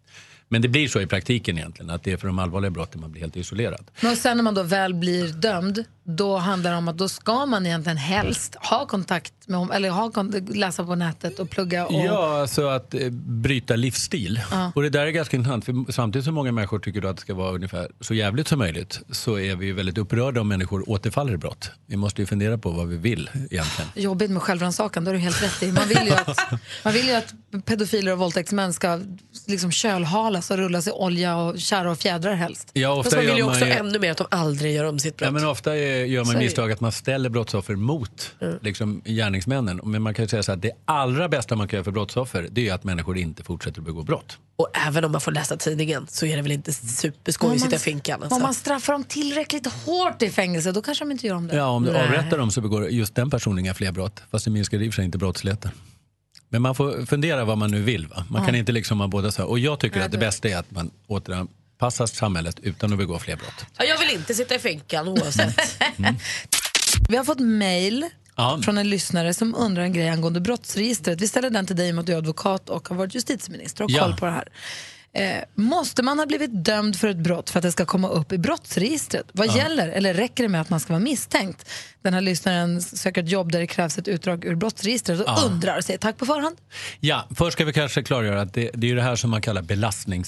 S10: Men det blir så i praktiken egentligen, att det är för de allvarliga brotten man blir helt isolerad.
S2: Men och sen när man då väl blir dömd, då handlar det om att då ska man egentligen helst ha kontakt med, om- eller ha, kon- läsa på nätet och plugga och
S10: Ja, alltså att eh, bryta livsstil.
S2: Ja.
S10: Och det där är ganska intressant, för samtidigt som många människor tycker då att det ska vara ungefär så jävligt som möjligt, så är vi ju väldigt upprörda om människor återfaller i brott. Vi måste ju fundera på vad vi vill egentligen.
S2: jobbigt med självrannsakan, då har du helt rätt i. Man vill ju att, man vill ju att pedofiler och våldtäktsmän ska liksom kölhalas och rullas i olja och kära och fjädrar helst.
S10: Ja,
S19: Fast man vill ju
S10: gör man
S19: också
S10: ju-
S19: ännu mer att de aldrig gör om sitt brott.
S10: Ja, men ofta eh, gör
S19: Så är
S10: man
S19: det.
S10: misstag att man ställer brottsoffer mot liksom, gärningsmännen. Men man kan ju säga så att det allra bästa man kan göra för brottsoffer det är ju att människor inte fortsätter att begå brott.
S19: Och även om man får läsa tidningen så är det väl inte superskoj att sitta i finkan. Alltså.
S2: Om man straffar dem tillräckligt hårt i fängelse, då kanske de inte gör om det.
S10: Ja, om du
S2: Nej.
S10: avrättar dem så begår just den personen inga fler brott. Fast det minskar i och för sig inte brottsligheten. Men man får fundera vad man nu vill. Va? Man
S2: Ja.
S10: kan inte liksom ha båda så här. Och jag tycker
S19: Nej,
S10: att det
S19: det-
S10: bästa är att man återanpassar samhället utan att begå fler brott.
S19: Ja, jag vill inte sitta i finkan oavsett.
S2: Vi har fått mejl
S10: Ja.
S2: från en lyssnare som undrar en grej angående brottsregistret. Vi ställer den till dig i och med att du är advokat och har varit justitieminister och har
S19: Ja.
S2: koll på det här. Eh, måste man ha blivit dömd för ett brott för att det ska komma upp i brottsregistret? Vad
S19: Ja.
S2: gäller? Eller räcker det med att man ska vara misstänkt? Den här lyssnaren söker ett jobb där det krävs ett utdrag ur brottsregistret och
S10: Ja.
S2: undrar och säger tack på förhand.
S10: Ja, först ska vi kanske klargöra att det, det är ju det här som man kallar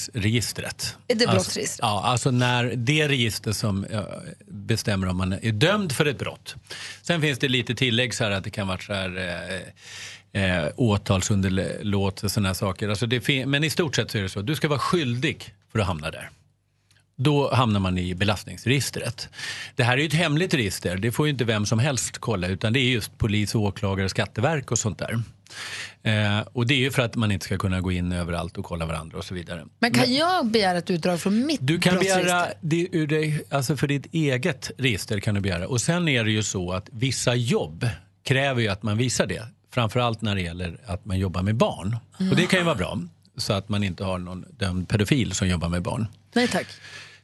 S10: belastningsregistret.
S2: Är det
S10: Alltså,
S2: brottsregistret?
S10: ja, alltså när det register som eh, bestämmer om man är dömd för ett brott. Sen finns det lite tillägg så här att det kan vara så här eh, eh, åtalsunderlåtelse och sådana saker. Alltså det fin- men i stort sett så är det så. Du ska vara skyldig för att hamna där. då hamnar man i belastningsregistret. Det här är ju ett hemligt register, det får ju inte vem som helst kolla utan det är just polis, åklagare, skatteverk och sånt där. Eh, och det är ju för att man inte ska kunna gå in överallt och kolla varandra och så vidare.
S2: Men kan jag begära ett utdrag från mitt
S10: Du kan
S2: brottsregister?
S10: begära det ur dig, alltså för ditt eget register kan du begära. Och sen är det ju så att vissa jobb kräver ju att man visar det. Framförallt när det gäller att man jobbar med barn. Och det kan ju vara bra. Så att man inte har någon dömd pedofil som jobbar med barn.
S2: Nej tack.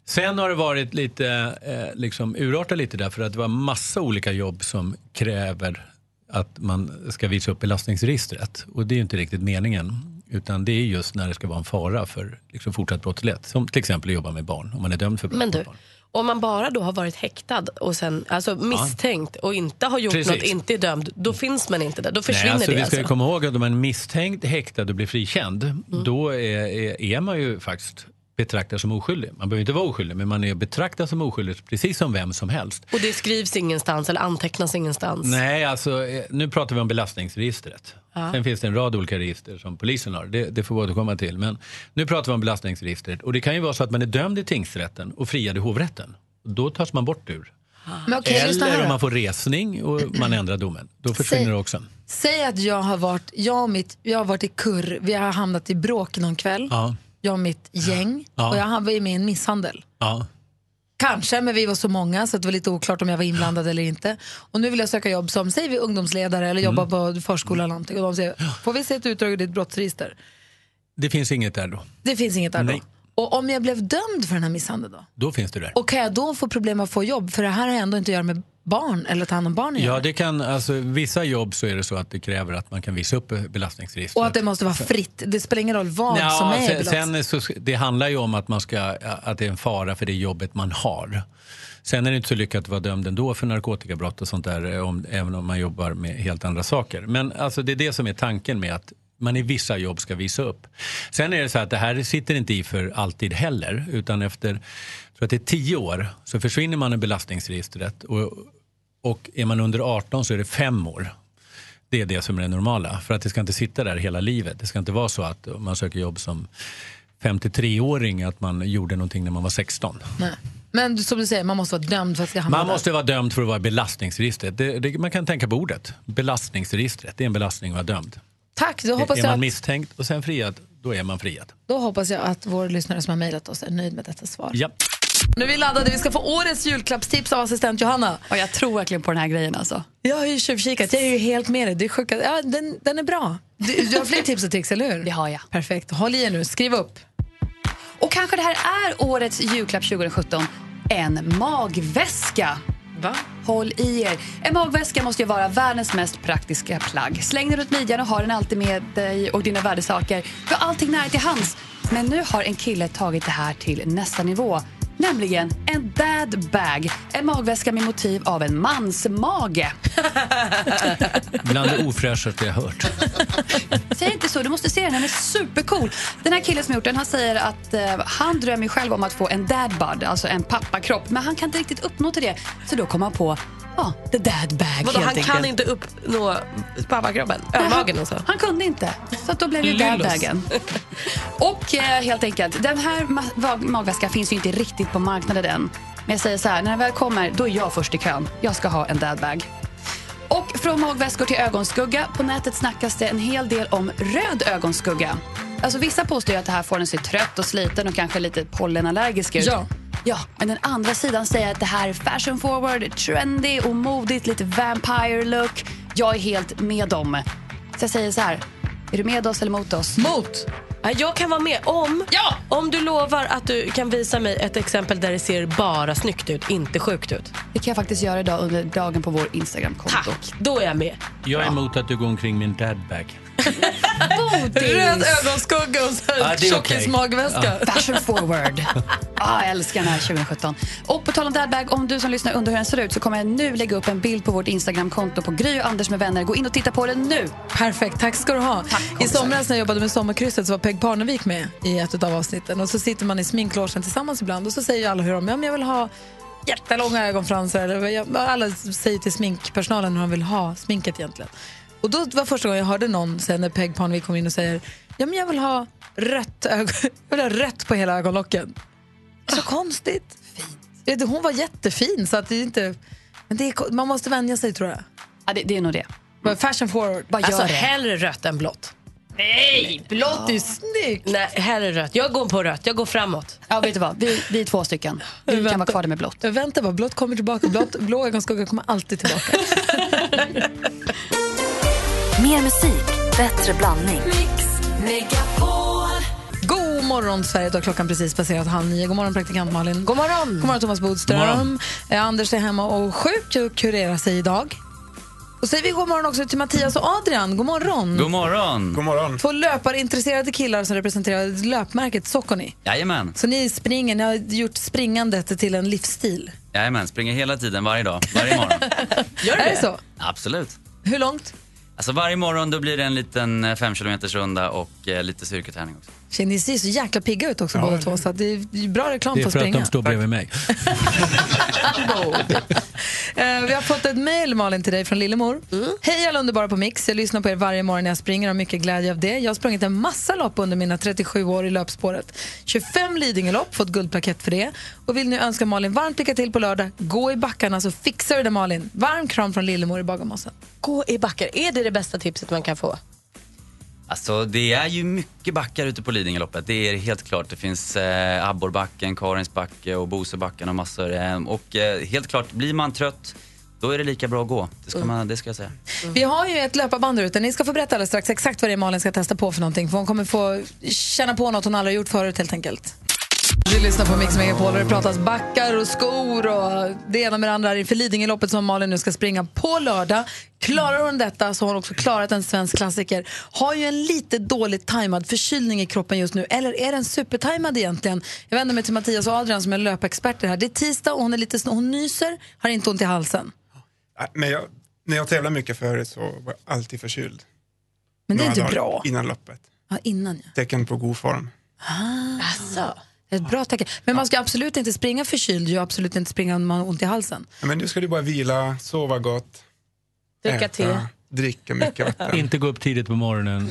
S10: Sen har det varit lite, eh, liksom urartat lite där för att det var massa olika jobb som kräver att man ska visa upp belastningsregistret. Och det är ju inte riktigt meningen. Utan det är just när det ska vara en fara för liksom, fortsatt brottslighet. Som till exempel att jobba med barn, om man är dömd för brott.
S3: Men du, om man bara då har varit häktad och sen alltså misstänkt och inte har gjort
S10: Precis.
S3: något, inte är dömd, då finns man inte där. Då försvinner
S10: Nej, alltså,
S3: det.
S10: Vi ska ju
S3: alltså. Mm.
S10: komma ihåg att om man är misstänkt, häktad och blir frikänd, då är, är, är man ju faktiskt betraktad som oskyldig. Man behöver inte vara oskyldig, men man är betraktad som oskyldig precis som vem som helst.
S3: Och det skrivs ingenstans eller antecknas ingenstans.
S10: Nej, alltså eh, nu pratar vi om belastningsregistret.
S3: Ja.
S10: Sen finns det en rad olika register som polisen har. Det, det får vi återkomma till. Men nu pratar vi om belastningsregistret. Och det kan ju vara så att man är dömd i tingsrätten och friad i hovrätten. Då tas man bort ur.
S2: Men okej, lyssna här
S10: Eller
S2: då.
S10: om man får resning och man ändrar domen. Då försvinner
S2: Säg-
S10: det också.
S2: Säg att jag har varit, jag och mitt, jag har varit i kurr, vi har hamnat i bråk någon kväll,
S10: Ja.
S2: jag och mitt gäng,
S10: Ja.
S2: och jag har varit med i en misshandel.
S10: Ja.
S2: Kanske, men vi var så många så att det var lite oklart om jag var inblandad eller inte. Och nu vill jag söka jobb som, säger vi ungdomsledare eller
S10: Mm.
S2: jobba på förskola eller någonting. Och de säger, får vi se ett utdrag ur ditt brottsregister?
S10: Det finns inget där då.
S2: Det finns inget där då.
S10: Nej.
S2: Och om jag blev dömd för den här misshandeln då?
S10: Då finns det där.
S2: Och kan jag då få problem med att få jobb? För det här har jag ändå inte att göra med barn eller ta hand om barn att göra.
S10: Ja, det kan, alltså, vissa jobb så är det så att det kräver att man kan visa upp eh, belastningsregistret.
S2: Och att det måste vara fritt. Det spelar ingen roll vad
S10: Nja,
S2: som är i
S10: sen,
S2: belastat.
S10: sen är så, Det handlar ju om att, man ska, att det är en fara för det jobbet man har. Sen är det inte så lyckat att vara dömd ändå för narkotikabrott och sånt där, eh, om, även om man jobbar med helt andra saker. Men alltså, det är det som är tanken med att man i vissa jobb ska visa upp. Sen är det så att det här sitter inte i för alltid heller, utan efter jag tror att det är tio år så försvinner man ur belastningsregistret. Och, och är man under 18 så är det fem år. Det är det som är det normala. För att det ska inte sitta där hela livet. Det ska inte vara så att om man söker jobb som 53-åring att man gjorde någonting när man var 16.
S2: Nej. Men som du säger, man måste vara dömd för att ska hamna
S10: Man
S2: där.
S10: måste vara dömd för att vara i belastningsregistret. Det, det, man kan tänka på ordet. Belastningsregistret, det är en belastning att vara dömd.
S2: Tack, då hoppas,
S10: Är man
S2: jag att,
S10: misstänkt och sen friad, då är man friad.
S2: då hoppas jag att vår lyssnare som har mejlat oss är nöjd med detta svar.
S10: Ja.
S2: Nu är vi laddade, vi ska få årets julklappstips av assistent Johanna.
S13: Och jag tror verkligen på den här grejen alltså.
S2: Jag har ju tjuvkikat, jag är ju helt med dig. Det är sjukt. att- Ja, den, den är bra. Du, du har fler tips och tricks, eller hur? Det har jag. Perfekt, håll i er nu, skriv upp.
S13: Och kanske det här är årets julklapp 2017. En magväska.
S2: Va?
S13: Håll i er. En magväska måste ju vara världens mest praktiska plagg. Släng den runt midjan och ha den alltid med dig och dina värdesaker. Du har allting nära till hands. Men nu har en kille tagit det här till nästa nivå. Nämligen en dad bag. En magväska med motiv av en mans mage.
S10: Bland det ofräschaste jag hört.
S13: Säg inte så, du måste se den. Den är supercool. Den här killen som gjort den, han säger att eh, han drömmer själv om att få en dad bud, alltså en pappakropp. Men han kan inte riktigt uppnå till det. Så då kom han på, ja, the dad bag
S3: Vadå,
S13: helt
S3: han kan
S13: enkelt.
S3: inte uppnå pappakroppen? Ölmagen alltså?
S13: Han kunde inte, så att då blev det dad
S3: Lyllos.
S13: bagen. Och eh, helt enkelt, den här ma- va- magväskan finns ju inte riktigt på marknaden än. Men jag säger så här, när den väl kommer, då är jag först i kön. Jag ska ha en dadbag. Och från magväskor till ögonskugga. På nätet snackas det en hel del om röd ögonskugga. Alltså vissa påstår ju att det här får en sig trött och sliten och kanske lite pollenallergisk ut.
S2: Ja.
S13: Ja, men den andra sidan säger att det här är fashion forward, trendy och modigt, lite vampire look. Jag är helt med dem. Så jag säger så här, är du med oss eller mot oss?
S2: Mot!
S3: Ja, Jag kan vara med om, om du lovar att du kan visa mig ett exempel där det ser bara snyggt ut, inte sjukt ut.
S13: Det kan jag faktiskt göra idag under dagen på vår Instagram-konto. Tack,
S3: då är jag med.
S10: Jag är emot att du går omkring med en dadbag.
S2: Röd ögonskugga och så här
S10: Ja, det är
S2: tjockis
S10: okej.
S2: magväska.
S10: Ja.
S13: Fashion forward. Ah, jag älskar den här 2017. Och på tal om dadbag, om du som lyssnar undrar hur den ser ut så kommer jag nu lägga upp en bild på vårt Instagramkonto på Gry och Anders med vänner. Gå in och titta på den nu.
S2: Perfekt, tack ska du ha. I somras när jag jobbade med Sommarkrysset så var Peg Parnevik med i ett av avsnitten. Och så sitter man i sminklåsen tillsammans ibland och så säger ju alla hur de, ja men jag vill ha jättelånga ögonfransar. Eller, jag- Alla säger till sminkpersonalen hur de vill ha sminket egentligen. Och då var första gången jag hörde någon säga när Peg Parnevik kom in och säger, ja men jag vill ha rött, ögon, jag vill ha rött på hela ögonlocken. Så konstigt. Fint. Hon var jättefin, så att det är inte... Men det är, ko- man måste vänja sig, tror jag.
S13: Ja, det, är nog det.
S2: Fashion forward. Mm. Bara
S3: Alltså
S2: gör det.
S3: hellre rött än blått.
S13: Nej, blått är snyggt.
S3: Nej, hellre rött. Jag går på rött. Jag går framåt.
S13: Ja, vet du vad? Vi, vi är två stycken. Du kan vara kvar där med blått.
S2: Vänta bara, blått kommer tillbaka. Blått, blå ögonskugga kommer alltid tillbaka.
S4: Mer musik, bättre blandning.
S2: God morgon, Sverige. Då har klockan precis passerat halv nio. God morgon, praktikant Malin. God morgon, God morgon Thomas Bodström.
S19: God morgon.
S2: Eh, Anders är hemma och sjuk och kurerar sig idag. Och säger vi god morgon också till Mattias och Adrian. God morgon.
S20: God morgon! God morgon!
S2: Två löparintresserade killar som representerar löpmärket Socconi.
S20: Jajamän.
S2: Så ni springer, ni har gjort springandet till en livsstil.
S20: Jajamän, springer hela tiden, varje dag, varje morgon.
S2: Gör är det så?
S20: Absolut.
S2: Hur långt?
S20: Alltså varje morgon då blir det en liten eh, fem kilometers runda och eh, lite styrketräning också.
S2: Tjej, Ni ser så jäkla pigga ut också
S20: Ja.
S2: båda två, så att det är det är bra reklam för att springa.
S10: står bredvid mig.
S2: Eh, vi har fått ett mejl, Malin, till dig från Lillemor. Hej alla underbara på Mix. Jag lyssnar på er varje morgon när jag springer och har mycket glädje av det. Jag har sprungit en massa lopp under mina 37 år i löpspåret. 25 Lidingölopp, fått guldplakett för det. Och vill nu önska Malin varmt lycka till på lördag. Gå i backarna så fixar du det Malin. Varm kram från Lillemor i Bagarmossen.
S3: Gå i backar. Är det det bästa tipset man kan få?
S20: Alltså det är ju mycket backar ute på Lidingöloppet, det är helt klart. Det finns eh, Abborrbacken, Karins backe och Bosebacken och massor. Eh, och eh, helt klart, blir man trött då är det lika bra att gå. Det ska, man, det ska jag säga.
S2: Mm. Vi har ju ett löparband där ute. Ni ska få berätta alldeles strax exakt vad det är Malin ska testa på för någonting. För hon kommer få känna på något hon aldrig har gjort förut helt enkelt. Du lyssnar på Mix Megapol och det pratas backar och skor och det ena med det andra inför Lidingöloppet som Malin nu ska springa på lördag. Klarar hon detta så har hon också klarat en svensk klassiker. Har ju en lite dåligt tajmad förkylning i kroppen just nu. Eller är den supertajmad egentligen? Jag vänder mig till Mattias och Adrian som är löpexperter här. Det är tisdag och hon är lite snö. Hon nyser, har inte ont i halsen.
S21: Nej, Äh, Men jag, när jag tävlade mycket förut så var jag alltid förkyld.
S2: Men det är inte
S21: Några dagar
S2: bra.
S21: Innan loppet.
S2: Ja, innan ja.
S21: Tecken på god form.
S2: Alltså. Ett bra tecken. Men man ska absolut inte springa förkyld ju, absolut inte springa om man har ont i halsen.
S21: Ja, Men nu ska du bara vila, sova gott.
S2: Dricka
S21: äta,
S2: te.
S21: Dricka mycket vatten.
S10: Inte gå upp tidigt på morgonen.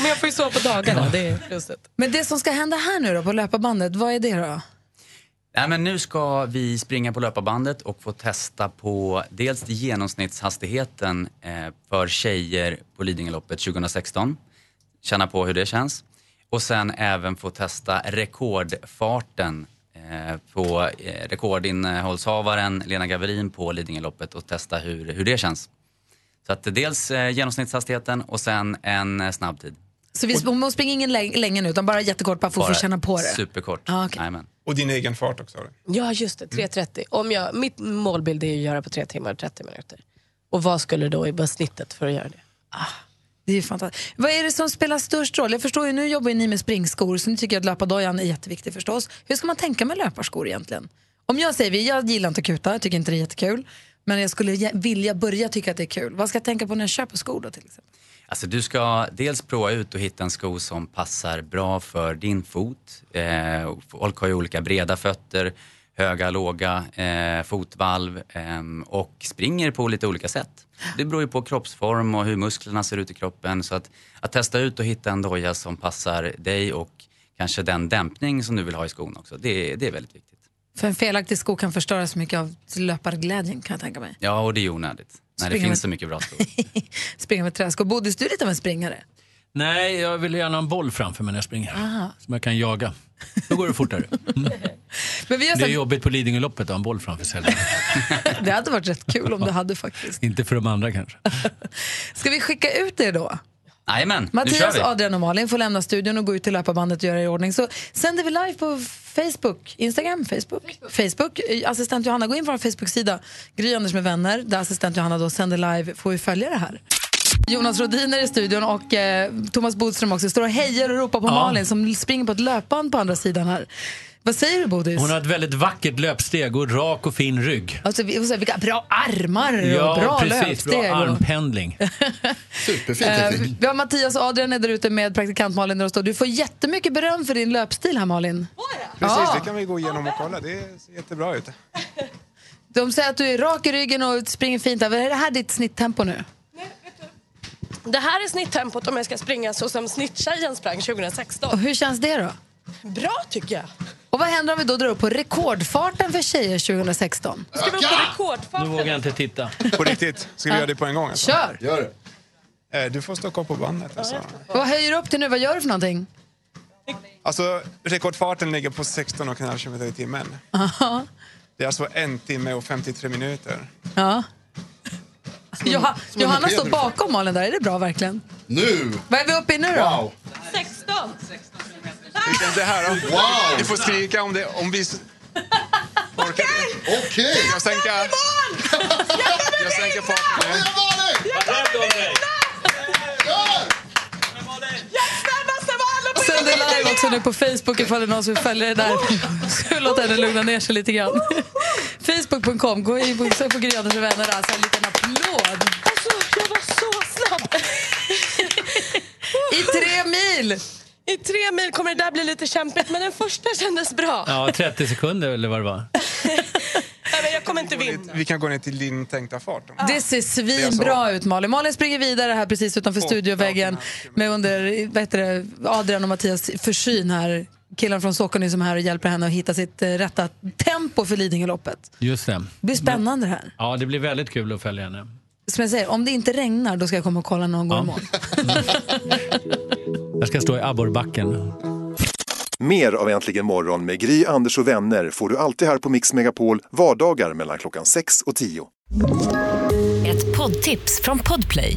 S2: Men jag får ju sova på dagarna, det är plusset. Men det som ska hända här nu då på löparbandet, vad är det då?
S20: Nej, men nu ska vi springa på löparbandet och få testa på dels genomsnittshastigheten eh, för tjejer på Lidingöloppet 2016. Känna på hur det känns. Och sen även få testa rekordfarten eh, på eh, rekordinnehållshavaren Lena Gaverin på Lidingöloppet och testa hur, hur det känns. Så att dels eh, genomsnittshastigheten och sen en eh, snabbtid.
S2: Så vi sp- hon springer ingen lä- länge nu utan bara jättekort bara för att få
S20: Bara
S2: känna på det.
S20: Superkort.
S2: Ja, okej.
S20: Jajamän.
S21: Och din egen fart också.
S3: Ja, just det.
S19: Mm.
S3: 3.30. Om jag, mitt målbild är att göra på 3 timmar och 30 minuter. Och vad skulle då i snittet för att göra det?
S2: Det är ju fantastiskt. Vad är det som spelar störst roll? Jag förstår ju, nu jobbar ju ni med springskor så nu tycker jag att löpardojan är jätteviktig förstås. Hur ska man tänka med löparskor egentligen? Om jag säger, vi, jag gillar inte att kuta, jag tycker inte det är jättekul. Men jag skulle ge- vilja börja tycka att det är kul. Vad ska jag tänka på när jag köper skor då till exempel?
S20: Alltså du ska dels prova ut och hitta en sko som passar bra för din fot. Eh, folk har ju olika breda fötter, höga, låga, eh, fotvalv ehm, och springer på lite olika sätt. Det beror ju på kroppsform och hur musklerna ser ut i kroppen. Så att, att testa ut och hitta en doja som passar dig och kanske den dämpning som du vill ha i skon också, det, det är väldigt viktigt.
S2: För en felaktig sko kan förstöra så mycket av löparglädjen kan jag tänka mig.
S20: Ja, och det är onödigt när det
S2: Springa
S20: finns
S2: med-
S20: så mycket bra skor.
S2: Springa med träskor. Bodis, du är lite av en springare.
S10: Nej, jag vill gärna ha en boll framför mig när jag springer.
S2: Aha.
S10: Som jag kan jaga. Då går det fortare.
S2: Men vi har
S21: Alltså-
S10: Det är
S2: sagt-
S10: jobbigt på Lidingöloppet att ha en boll framför sig.
S2: Det hade varit rätt kul om du hade faktiskt.
S10: Inte för de andra kanske.
S2: Ska vi skicka ut er då?
S20: Jajamän, nu kör
S2: Mattias,
S20: vi!
S2: Adrian och Malin får lämna studion och gå ut till löparbandet och göra i ordning. Så sänder vi live på Facebook, Instagram, Facebook. Facebook. Eh, Assistent Johanna, gå in på vår Facebook-sida, Gry Anders med vänner, där assistent Johanna då sänder live, får vi följa det här. Jonas Rodin är i studion och eh, Thomas Bodström också står och hejar och ropar på
S10: Ja.
S2: Malin som springer på ett löpband på andra sidan här. Vad säger du Bodis?
S10: Hon har ett väldigt vackert löpsteg och rak och fin rygg.
S2: Alltså, vi- och så här, vilka bra armar och bra
S10: precis.
S2: löpsteg.
S10: Bra
S2: och-
S10: armpendling. Superfin
S2: Eh, vi har Mattias och Adrian är där ute med praktikant Malin. där de står. Du får jättemycket beröm för din löpstil här Malin.
S21: Precis,
S2: Ja.
S21: det kan vi gå igenom och kolla. Det ser jättebra ut.
S2: De säger att du är rak i ryggen och springer fint. Är det här ditt snitttempo nu?
S19: Det här är snitttempot om jag ska springa så som snitttjejen sprang 2016.
S2: Och hur känns det då?
S19: Bra tycker jag.
S2: Och vad händer om vi då drar upp på rekordfarten för tjejer 2016?
S19: Ska vi upp på rekordfart?
S21: Nu vågar jag inte titta. På riktigt? Ska vi
S2: Ja.
S21: göra det på en gång? Alltså?
S2: Kör.
S21: Gör det. Eh, Du får stå kvar på bandet. Alltså.
S2: Vad höjer du upp till nu? Vad gör du för någonting?
S21: Alltså, rekordfarten ligger på 16,5 km i timmen.
S2: Aha.
S21: Det är alltså en timme och 53 minuter.
S2: Ja. Joha,
S21: som en
S2: Johanna
S21: moped
S2: står
S21: ungefär.
S2: bakom Malin där. Är det bra verkligen?
S1: Nu!
S2: Vad är vi uppe i nu då?
S1: Wow.
S19: 16.
S21: Hur känns det här då?
S1: Wow.
S21: Ni får skrika om det. Om vi... s- Orkar ni?
S1: Okej!
S21: Jag sänker... Jag sänker farten nu.
S2: Sänder live också nu på Facebook ifall det är någon som vill följa det där. Så Låt henne lugna ner sig lite grann. Facebook.com, gå in på sök på Gry Anders och vänner. Alltså en liten applåd.
S19: Alltså, jag var så snabb.
S2: I tre mil!
S19: I tre mil kommer det där bli lite kämpigt, men den första kändes bra.
S10: Ja, 30 sekunder eller vad det var.
S19: Nej, men jag kommer inte vinna.
S21: Vi kan gå ner till din tänkta fart. Då.
S2: Det ser svinbra ut Malin. Malin springer vidare här precis utanför studioväggen med under vad heter det, Adrian och Mattias försyn här. Killen från Såkony som är här och hjälper henne att hitta sitt eh, rätta tempo för Lidingöloppet.
S10: Just det.
S2: Det blir spännande det här.
S10: Ja, det blir väldigt kul att följa henne.
S2: Som jag säger, om det inte regnar då ska jag komma och kolla någon gång imorgon.
S10: Jag ska stå i abborrbacken.
S8: Mer av Äntligen morgon med Gry, Anders och vänner får du alltid här på Mix Megapol vardagar mellan klockan 6 och 10.
S4: Ett poddtips från Podplay.